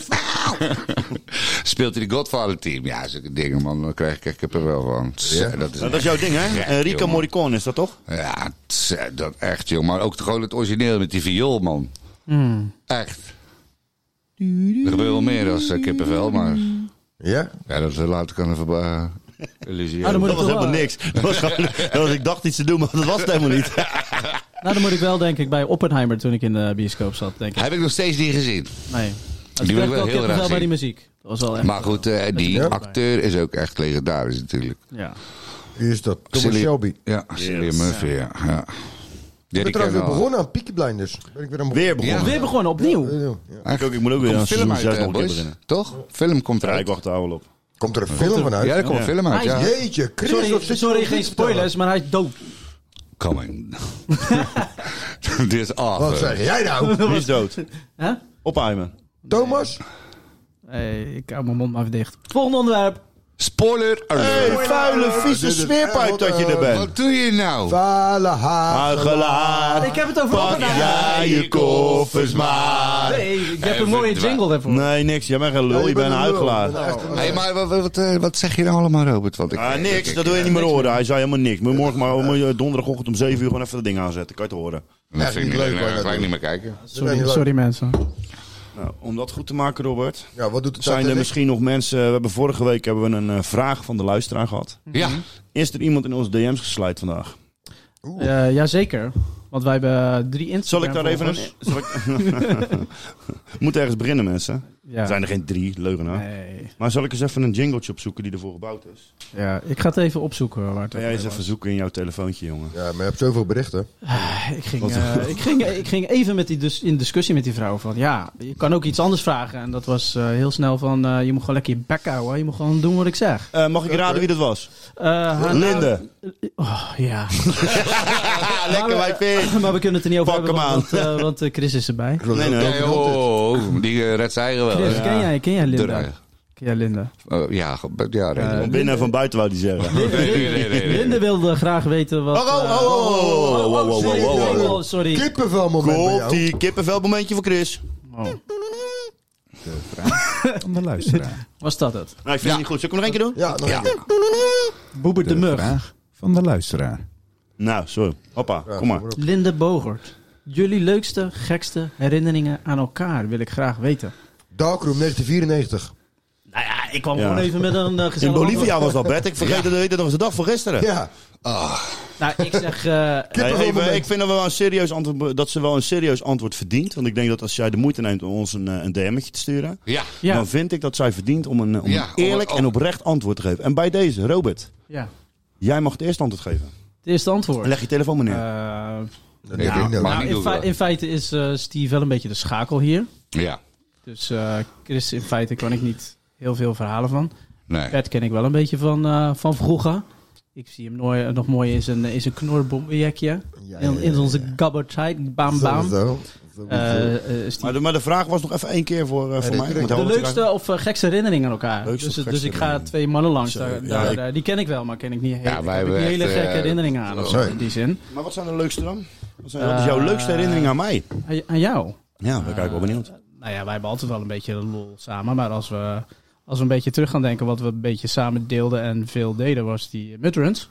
Speelt hij de Godfather team? Ja, zulke dingen, man. Dan krijg ik, ik heb er wel van. Tss, Dat is,
Nou, Dat is jouw ding, hè?
Ja,
Eh, Rico
jongen.
Morricone is dat toch?
Ja, tss, dat echt, joh. Maar ook gewoon het origineel met die viool, man. Echt. Er gebeurt wel meer als eh, kippenvel, maar...
Ja?
Ja, dat eh, laat ik aan even bij... Illusie.
Ah, dan moet
Dat
ik
was
toch
helemaal
wel-
niks. Dat was gewoon- dat was, ik dacht iets te doen, maar dat was het helemaal niet.
Nou, dan moet ik wel denk ik bij Oppenheimer toen ik in de bioscoop zat, denk ik.
Heb ik nog steeds niet gezien.
Nee. Dus Dat
wil ik
is echt
wel
wel
heel graag
kippenvel bij
zien.
die muziek. Dat was wel echt...
Maar goed, eh, die
Ja.
acteur is ook echt legendarisch natuurlijk.
Ja.
Wie is dat? Thomas
Cillian-
Shelby.
Ja, Cillian Murphy, ja. ja.
Ik ben trouwens weer begonnen aan Peaky Blinders. Ben ik weer aan
Weer begonnen.
Weer begonnen,
Eh,
opnieuw.
begonnen. Ja.
Ik, ook, ik moet ook weer aan
Een film
seizoen
uit,
6
eh,
nog een keer
boys.
beginnen.
Toch? Film komt
Ja, ik
eruit.
wacht er al op.
Komt er een film van uit?
Ja, er komt een film uit, ja.
Jeetje, Chris. wat
Sorry,
zit je
sorry
ons
geen
dit te vertellen?
spoilers, maar hij is dood.
Coming. Dit is
Wat
af.
zeg jij nou?
Wie is dood?
Hè?
Opheimen.
Thomas?
Hey, ik hou mijn mond maar even dicht. Volgende onderwerp.
Spoiler alert.
Hey, vuile, vieze
Dit is
smeerpijp
echt
dat je er
wat,
bent.
Wat doe je nou?
Fala
Hagelaar,
Ik heb het over
pak
Oppenheimer.
jij je koffers maar.
Ja.
Nee, ik heb
Nee,
een mooie
we-
jingle daarvoor.
Nee, niks. Jij bent geen lul. je bent een huigelaar.
Hey, maar wat, wat, eh, wat zeg je nou allemaal, Robert? Want ik,
Ah, niks,
ik-
dat wil je niet meer horen. Hij zei helemaal niks. Moet je morgen maar moet je donderdagochtend om 7 uur gewoon even dat ding aanzetten. Kan je het horen.
Dat vind ik niet leuk. Nee, ga ik niet meer kijken.
Sorry, sorry mensen.
Nou, om dat goed te maken, Robert.
Ja, wat doet de
Zijn er
Titanic?
misschien nog mensen... We hebben vorige week hebben we een eh, vraag van de luisteraar gehad.
Ja.
Is er iemand in onze DM's gesluit vandaag?
Eh jazeker. Want wij hebben drie
Zal
Instagram
ik daar even een... Zal ik... Moet ergens beginnen, mensen.
Ja.
Er zijn er geen drie, leugenaar.
Nee.
Maar zal ik eens even een jingletje opzoeken die ervoor gebouwd is?
Ja, ik ga het even opzoeken. Waar het
Kan jij eens
over
even
was.
zoeken in jouw telefoontje, jongen?
Ja, maar je hebt zoveel berichten.
Ik ging,
Wat-
eh, ik, ging, ik ging even met die dus, in discussie met die vrouw van ja, je kan ook iets anders vragen. En dat was eh, heel snel van eh, je moet gewoon lekker je bek houden. Je moet gewoon doen wat ik zeg.
Eh, mag ik raden wie dat was?
Eh,
Ah,
haar
nou-
naam-
Linde.
Oh, ja.
Lekker, wij vinden.
maar we kunnen het er niet over
Pak
hebben,
hem
want, eh, want eh, Chris is erbij.
Nee, nee.
Nee, oh, oh, die eh, redt zijn eigen wel.
Chris,
hè?
ken jij, ken jij
De
Linda?
rij.
Ken jij Linda?
Eh, ja, ge- ja, nee.
Eh,
Van binnen en van buiten wou die zeggen.
nee, nee, nee, nee, nee.
Linde wilde graag weten wat...
oh,
eh, oh, sorry.
Kippenvel moment bij
Komt
jou.
die kippenvel momentje voor Chris.
Oh,
Van de luisteraar.
was dat het?
Nou, ik vind het niet goed. Zal ik hem nog één keer doen?
Ja, nog een keer.
Boebert de, Mug.
Vraag van de luisteraar.
Nou, zo. Hoppa,
Ja,
kom maar.
kom
Linde Bogert. Jullie leukste, gekste herinneringen aan elkaar wil ik graag weten.
Darkroom 1994.
Nou ja, ik kwam
Ja.
gewoon even met een eh,
In
gezellig...
Bolivia was dat, Bert. Ik vergeet het, weet het nog eens de dag van gisteren.
Ja, Ah,
Nou, ik zeg... eh,
Nee,
Kippenvel
even,
moment.
ik vind dat, we wel een serieus antwoord, dat ze wel een serieus antwoord verdient. Want ik denk dat als jij de moeite neemt om ons een, eh, een DM'tje te sturen...
Ja.
ja,
dan vind ik dat zij verdient om een, eh, om
Ja,
een eerlijk
om- om-
en oprecht antwoord te geven. En bij deze, Robert,
ja.
jij mag het eerste antwoord geven.
Het eerste antwoord.
Leg je telefoon maar neer.
Eh,
Nee, ik denk dat
maar
nou,
we-
niet
in,
doen,
fe-
hoor.
in feite is eh, Steve wel een beetje de schakel hier.
Ja,
Dus eh, Chris, in feite kan ik niet heel veel verhalen van.
nee.
Bert ken ik wel een beetje van, eh, van vroeger. Ik zie hem nooit, nog mooi in zijn, in zijn knorbombejekje.
Ja,
In, in onze gabbertijd. Bam, bam.
Zo, zo.
Eh, eh, Steve.
maar, de, maar de vraag was nog even één keer voor, eh, voor mij. Ik moet
De
helemaal
leukste of eh, gekste herinneringen aan elkaar.
Leukste
dus
of
dus
gekste
ik ga
herinneringen.
twee mannen langs.
Zo,
daar,
ja,
daar,
ik-
eh, die ken ik wel, maar ken ik niet heel,
wij
ik heb
hebben
niet
echt,
hele
eh,
gekke herinneringen aan. of zo,
nee.
in die zin.
Maar wat zijn de leukste dan? Wat, zijn, wat is jouw
Eh,
leukste herinnering aan mij?
Aan, aan jou?
Ja, daar ben ik wel benieuwd.
Nou ja, wij hebben altijd wel een beetje lol samen. Maar als we, als we een beetje terug gaan denken wat we een beetje samen deelden en veel deden, was die Mutterants.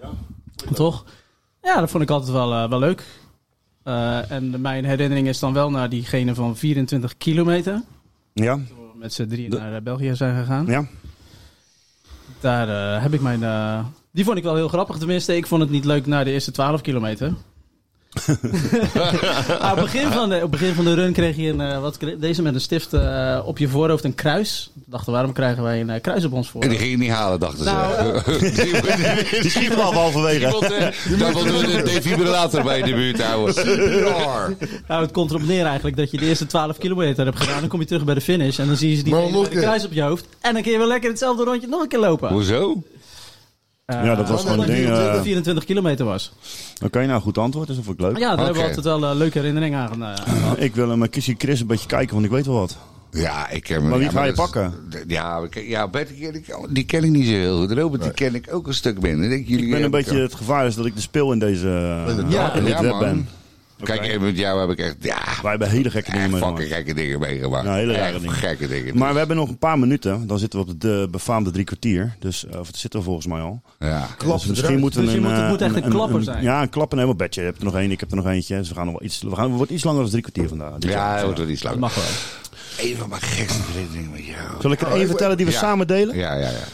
Ja. Toch? Ja, dat vond ik altijd wel, eh, wel leuk. Eh, en mijn herinnering is dan wel naar diegene van 24 kilometer.
Ja?
Toen we met z'n drieën
De-
naar eh, België zijn gegaan.
Ja?
Daar eh, heb ik mijn... eh, die vond ik wel heel grappig. Tenminste, ik vond het niet leuk na de eerste 12 kilometer. Maar op, het begin van de, op het begin van de run kreeg je een, eh, wat, kreeg- deze met een stift eh, op je voorhoofd een kruis. We dachten, waarom krijgen wij een eh, kruis op ons
En die
voorhoofd?
ging je niet halen, dachten
Nou,
eh,
ze. Die- die-
Die schiet hem af halverwege.
Iemand, eh, daar wilden we een defibrillator bij in de buurt houden.
Nou, het komt erop neer eigenlijk dat je de eerste 12 kilometer hebt gedaan. Dan kom je terug bij de finish en dan zien ze die
Maar
met
nog
een
een.
kruis op je hoofd. En dan kun je wel lekker hetzelfde rondje nog een keer lopen.
Hoezo?
Eh,
Ja, dat was gewoon een ding.
omdat het
eh.
24 kilometer was.
Oké, nou goed antwoord, dus dat vond ik leuk.
Maar Ah, ja, daar hebben we
Oké.
altijd wel eh, leuke herinneringen aan. eh, aan gehad.
Ik wil hem eh, Kissy Chris een beetje kijken, want ik weet wel wat.
Ja, ik heb...
Maar wie
ja,
ga je
dat is-
pakken?
d- Ja, ik- ja Bert, die ken, ik, die ken ik niet zo heel goed. Robert, die ken ik ook een stuk minder. Ik, denk, jullie
Ik ben een
hebben
beetje het gevaar is dat ik de speel in deze eh,
Ja,
in dit
ja,
web
man.
ben.
ook- Kijk, even met jou heb ik echt... Ja,
Wij hebben hele gekke dingen
echt fucking
meegemaakt.
gekke dingen meegemaakt.
Ja, Nou, hele rare
Echt
dingen.
gekke dingen.
Maar we hebben nog een paar minuten, dan zitten we op de eh, befaamde drie kwartier. Dus, eh, of het zitten we volgens mij al.
Ja.
Dus misschien moeten we
Dus je
een,
moet- het
eh,
moet echt een klapper zijn.
Ja, een klapper. Nee, maar bedje. Je hebt er nog één, ik heb er nog eentje. Dus we gaan nog wel iets, we gaan, het wordt iets langer dan drie kwartier vandaag. Dus
Ja, dat
ja.
wordt wel iets
Dat
langer.
mag wel.
Een van mijn gekste herinneringen met jou.
Zal ik er één vertellen die we
Oh, Ja.
samen delen?
Ja, ja, ja.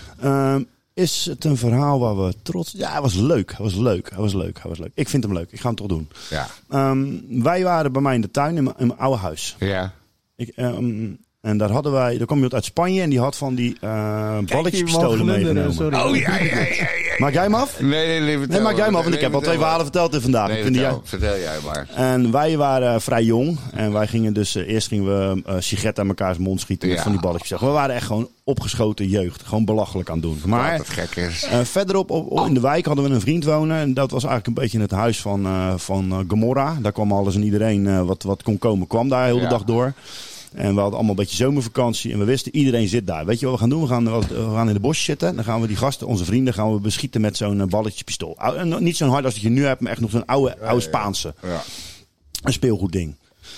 Ehm, is het een verhaal waar we trots... Ja, hij was leuk. Hij was leuk. Hij was leuk. Hij was leuk. Ik vind hem leuk. Ik ga hem toch doen.
Ja.
Ehm, wij waren bij mij in de tuin in mijn, in mijn oude huis.
Ja.
Ik, ehm, en daar hadden wij... Daar kwam iemand uit Spanje en die had van die eh
Kijk,
balletjespistolen
die man glunderen,
meegenomen.
sorry.
Oh, ja, ja, ja, ja.
Maak jij hem af?
Nee, nee, nee,
Nee,
vertel.
maak jij hem af, want
Nee,
ik heb
vertel
al twee
maar.
verhalen verteld dit vandaag.
Nee,
Ik vind die-
vertel, vertel jij maar.
En wij waren vrij jong. En wij gingen dus... eh, eerst gingen we eh sigaretten aan mekaars mond schieten met
Ja.
van die balletjes. We waren echt gewoon opgeschoten jeugd. Gewoon belachelijk aan het doen. Maar...
Wat gek is.
Eh, verderop op, op- in de wijk hadden we een vriend wonen. En dat was eigenlijk een beetje het huis van, eh, van eh, Gomorra. Daar kwam alles en iedereen eh, wat, wat kon komen, kwam daar heel de
Ja.
dag door. En we hadden allemaal een beetje zomervakantie. En we wisten, iedereen zit daar. Weet je wat we gaan doen? We gaan, we gaan in de bosjes zitten. Dan gaan we die gasten, onze vrienden, gaan we beschieten met zo'n eh, balletjespistool. Ou- en Niet zo'n hard als dat je nu hebt, maar echt nog zo'n oude, oude Spaanse.
Ja.
Een speelgoedding.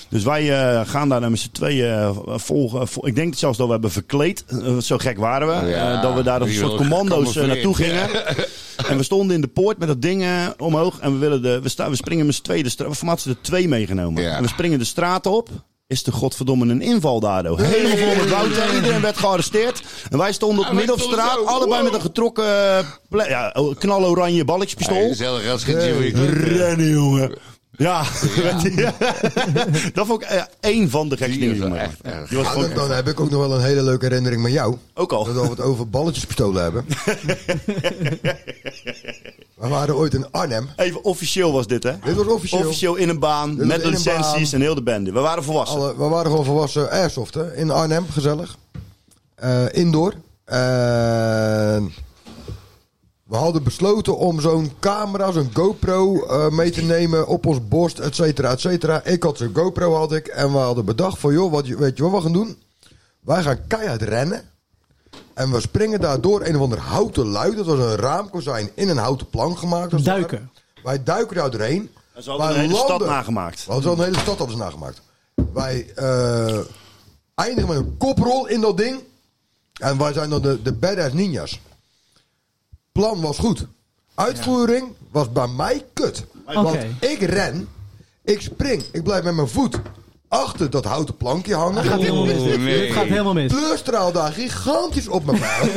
Dus wij eh, gaan daar met z'n tweeën eh, volgen. vo- ik denk zelfs dat we hebben verkleed. Eh, zo gek waren we.
Oh Ja,
Eh, dat we daar als een
die wil
soort commando's eh, naartoe gingen.
gecamoufleerd.
en we stonden in de poort met dat ding eh, omhoog. En we, willen de, we, sta, we springen met z'n tweeën de straat. We hadden ze er twee meegenomen. En we springen de straat op. Is de godverdomme een inval daardoor? Helemaal vol met Wouter. Iedereen werd gearresteerd. En wij stonden op
En wij
midden op
stonden
straat.
zo,
Allebei
wow.
met een getrokken eh, ple- ja, knaloranje balletjespistool.
Hey, gezellig als geen Jimmy.
Rennen, jongen. Ja, dat vond ik eh, één van de gekste dingen. die we maakten. Die was
Ah,
gewoon
dan, dan heb ik ook nog wel een hele leuke herinnering met jou.
Ook al.
Dat we het over balletjespistolen hebben. we waren ooit in Arnhem.
Even officieel was dit, hè?
Dit was officieel.
Officieel in een baan,
Dit was
met
in een
licenties
baan.
en heel de bende. We waren volwassen.
Alle- we waren gewoon volwassen airsoft, hè? In Arnhem, gezellig. Eh, indoor. En we hadden besloten om zo'n camera, zo'n GoPro eh, mee te nemen op ons borst, et cetera, et cetera. Ik had zo'n GoPro, had ik. En we hadden bedacht van, joh, wat, weet je wat we gaan doen? Wij gaan keihard rennen. En we springen daardoor een of ander houten lui. Dat was een raamkozijn in een houten plank gemaakt. als het
Duiken.
ware. Wij duiken daar doorheen.
Dat is al een
Wij
hele stad
landen-
nagemaakt.
want zo'n hele stad hadden ze nagemaakt. Wij eh, eindigen met een koprol in dat ding. En wij zijn dan de, de badass ninjas. Plan was goed. Uitvoering was bij mij kut.
Oké.
Want ik ren, ik spring, ik blijf met mijn voet achter dat houten plankje hangen.
Gaat helemaal mis.
Oh,
dit.
nee.
Dit gaat helemaal mis.
Pleurstraal daar gigantisch op mijn buik.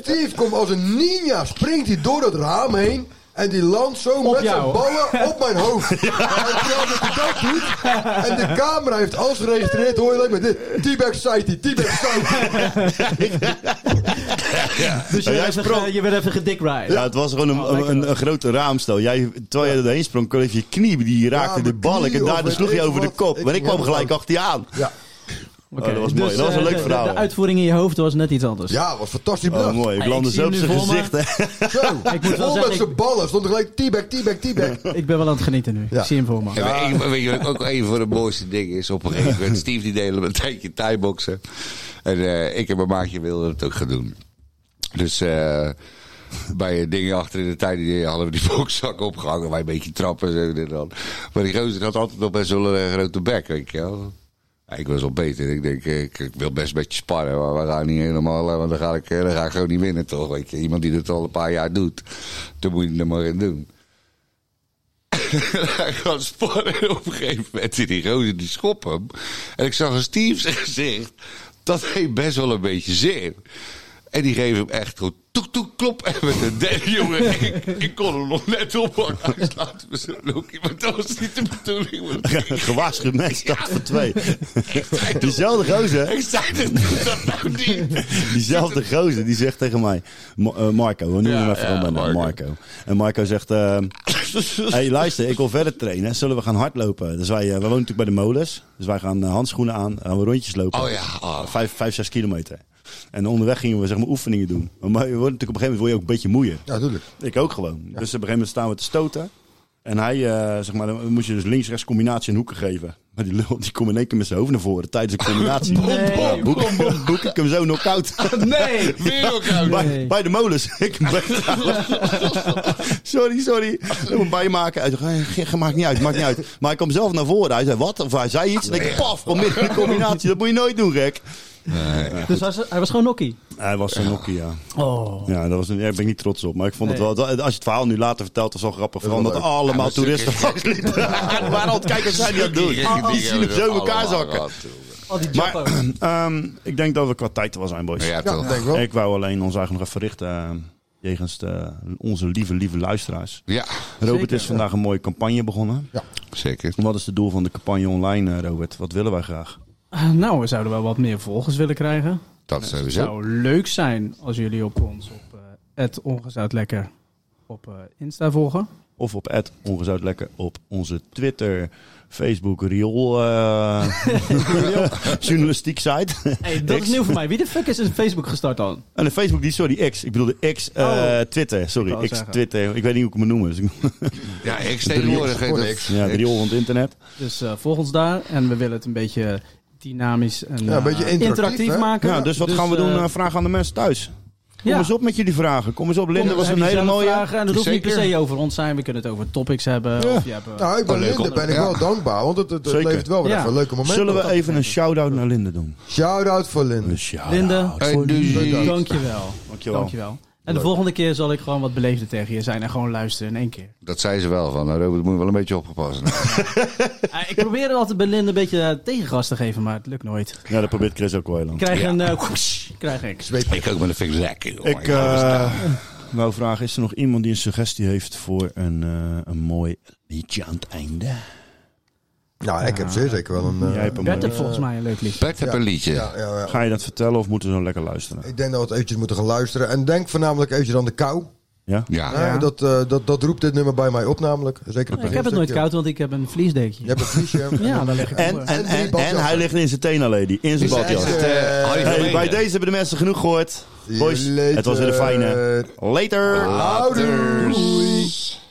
Steve komt als een ninja, springt hij door het raam heen. En die landt zo met zijn
jou.
ballen op mijn hoofd. En terwijl dat hij dat doet, en de camera heeft alles geregistreerd, hoor je alleen maar dit. T-Bag Society, T-Bag Society.
Dus je,
Ja, jij
werd
sprong.
even, je werd even gedikrijd.
Ja, het was gewoon een,
Oh, lekker
een,
wel.
een grote raamstel. Jij, terwijl jij er doorheen sprong, kreeg je knie, die raakte
Ja,
de
mijn
balk.
knie
En
of
daardoor
weet
sloeg je
ik
over de
wat.
kop.
Ik
Maar ik
ging
kwam
helemaal
gelijk achter je aan.
Ja,
Oké.
Oh, dat was mooi. Dat was een
eh,
leuk
de-
verhaal.
De, de uitvoering in je hoofd was net iets anders.
ja, was fantastisch
Oh,
bedacht.
mooi. Ik
Hey,
landde
ik
zo
zie
op
hem
zijn
nu voor me.
gezicht. hè.
Zo,
Ik moet wel
vol
zeggen,
met
ik-
zijn ballen. Stond er gelijk T-Bag, T-Bag, T-Bag.
Ik ben wel aan het genieten nu.
Ja.
Ik zie hem voor me.
En weet je- weet je wat ook een van de mooiste dingen is? Op een gegeven moment, Steve die deed een tijdje thai-boksen. En eh, ik en mijn maatje wilden het ook gaan doen. Dus eh, bij dingen achter in de tijd die hadden we die bokzak opgehangen. Wij een beetje trappen en zo dit en dan. Maar die gozer had altijd nog best wel een eh, grote bek, weet je wel. Ja, Ik was al beter. Ik denk, eh, ik, ik wil best een beetje sparren, maar we gaan niet helemaal. eh, Want dan ga ik, eh, dan ga ik gewoon niet winnen, toch? Weet je? Iemand die dit al een paar jaar doet, dan moet je er maar in doen. hij gaat sparren. En op een gegeven moment in die roze die schop hem. En ik zag aan Steve's gezicht. Dat heeft best wel een beetje zin. En die geven hem echt gewoon toek toek klop. En met een derde jongen. Ik, ik kon hem nog net oppakken. Hij slaat me zo'n lokie. Maar dat was niet de bedoeling. want
Gewaarschuwd mens, staat voor twee.
hij doet-
Diezelfde gozer.
Ik zei dat, doe dat nou niet.
Diezelfde gozer die zegt tegen mij: Ma- eh, Marco, we noemen
Ja,
hem even
ja,
gewoon bij naam,
Marco.
Marco. En Marco zegt: eh, hey, luister, ik wil verder trainen. Zullen we gaan hardlopen? Dus wij, eh, wij wonen natuurlijk bij de molens. Dus wij gaan eh, handschoenen aan. Gaan we rondjes lopen.
Oh ja, oh.
Vijf, vijf, zes kilometer. En onderweg gingen we zeg maar oefeningen doen. Maar je wordt natuurlijk op een gegeven moment word je ook een beetje moeier.
Ja, tuurlijk.
Ik ook gewoon. Dus op een gegeven moment staan we te stoten. En hij, eh, zeg maar, dan moest je dus links-rechts combinatie en hoeken geven. Maar die lul, die komt in één keer met zijn hoofd naar voren tijdens een combinatie.
Nee.
Ja, boek, boek ik hem zo knock-out.
Nee!
Weer ook uit.
Bij, bij de molens. Ik ben sorry, sorry. Doe hem bijmaken. Hij zegt, "Eh, ge- maakt niet uit, maakt niet uit. Maar hij kwam zelf naar voren. Hij zei, wat? Of hij zei iets. En ik, paf, kom midden in de combinatie. Dat moet je nooit doen, gek.
Dus hij was, hij was gewoon Nokkie.
Hij was een Nokia.
Oh.
Ja, dat was een, daar ben ik niet trots op. Maar ik vond het wel... Als je het verhaal nu later vertelt, was het wel grappig. Vooral
wel
omdat
leuk.
allemaal
Ja, maar
toeristen
stukjes-
vastliepen. En waren al het kijken wat zij die aan het doen. Die Oh, zien het zo in elkaar zakken.
Al die
Maar
Jappo.
ehm, ik denk dat we qua tijd er wel zijn, boys.
Ja,
Ja,
toch.
denk ik wel.
Ik wou alleen ons eigenlijk nog even richten... eh, jegens de, onze lieve, lieve luisteraars.
Ja,
Robert
Zeker.
is vandaag een mooie campagne begonnen.
zeker.
Wat is het doel van de campagne online, eh, Robert? Wat willen wij graag?
Ah, Nou, we zouden wel wat meer volgers willen krijgen.
Dat sowieso.
zou leuk zijn als jullie op ons op het ongezout lekker op eh, Insta volgen.
Of op het ongezout lekker op onze Twitter, Facebook, Riool, eh, journalistiek site.
Hey, dat is
X.
nieuw voor mij. Wie de fuck is een Facebook gestart dan?
En de Oh, Facebook, die, sorry, X. Ik bedoel de X, eh,
Oh.
Twitter.
Ik wou
Sorry, X,
zeggen.
Twitter. Ik weet niet hoe ik hem noem. Dus ik,
Ja, ik tegenwoordig. hè, dat-
ja, de Riool van het internet.
Dus eh, volg ons daar. En we willen het een beetje dynamisch en
Ja, een
eh,
beetje interactief, hè?
maken.
Ja, dus wat gaan we
eh,
doen? Eh, vraag aan de mensen thuis. Kom eens op met jullie vragen. Kom eens op. Linda
Kom,
was
heb
een
je
hele
zelf
mooie.
Vragen, en dat hoeft niet per se over ons zijn. We kunnen het over topics hebben.
Ja.
Of je hebt, eh,
Nou, ik ben
Oh, Leuk,
Linde,
hoor.
ben ik wel
Ja.
dankbaar, want het, het, het
Zeker.
levert wel weer
Ja.
even een leuke momenten.
Zullen we even een shout-out naar Linde doen?
Shout-out voor Linde.
Linde,
voor
dus-
Linde.
dankjewel.
Dankjewel.
Dankjewel. En de
Leuk.
volgende keer zal ik gewoon wat beleefder tegen je zijn en gewoon luisteren in één keer.
Dat zei ze wel van. nou, Robert moet je wel een beetje opgepast. hebben.
Eh, ik probeer er altijd bij Linde een beetje eh, tegengas te geven, maar het lukt nooit.
Ja, dat probeert Chris ook wel heel
Ik
lang.
krijg
Ja.
een... eh, whoosh, krijg ik.
ik ook, maar dat vind ik lekker. joh.
Oh,
Ik
hou van staan.
eh wou vragen, is er nog iemand die een suggestie heeft voor een, eh, een mooi liedje aan het einde?
Nou, ik heb zeer zeker wel een... eh,
Jij hebt een
Bert eh,
mooi-
heeft volgens mij een leuk liedje.
Bert heb een liedje.
Ja, ja, ja.
Ga je dat vertellen of moeten we zo lekker luisteren?
Ik denk dat we het eventjes moeten gaan luisteren. En denk voornamelijk eventjes aan de kou.
Ja?
Ja.
Ja, dat, eh, dat, dat roept dit nummer bij mij op namelijk. Zeker het
Ik heb het nooit
beginstukje.
koud, want ik heb een vliesdekje.
Je hebt een vliesje.
Ja, daar leg ik eh.
En, en, en, en hij ligt in zijn tenen, lady. In zijn
Is- is
badjas.
het, eh, Harry van
Hey,
Menen?
bij deze hebben de mensen genoeg gehoord. Boys,
Later.
het was weer een fijne. Later!
Ouders.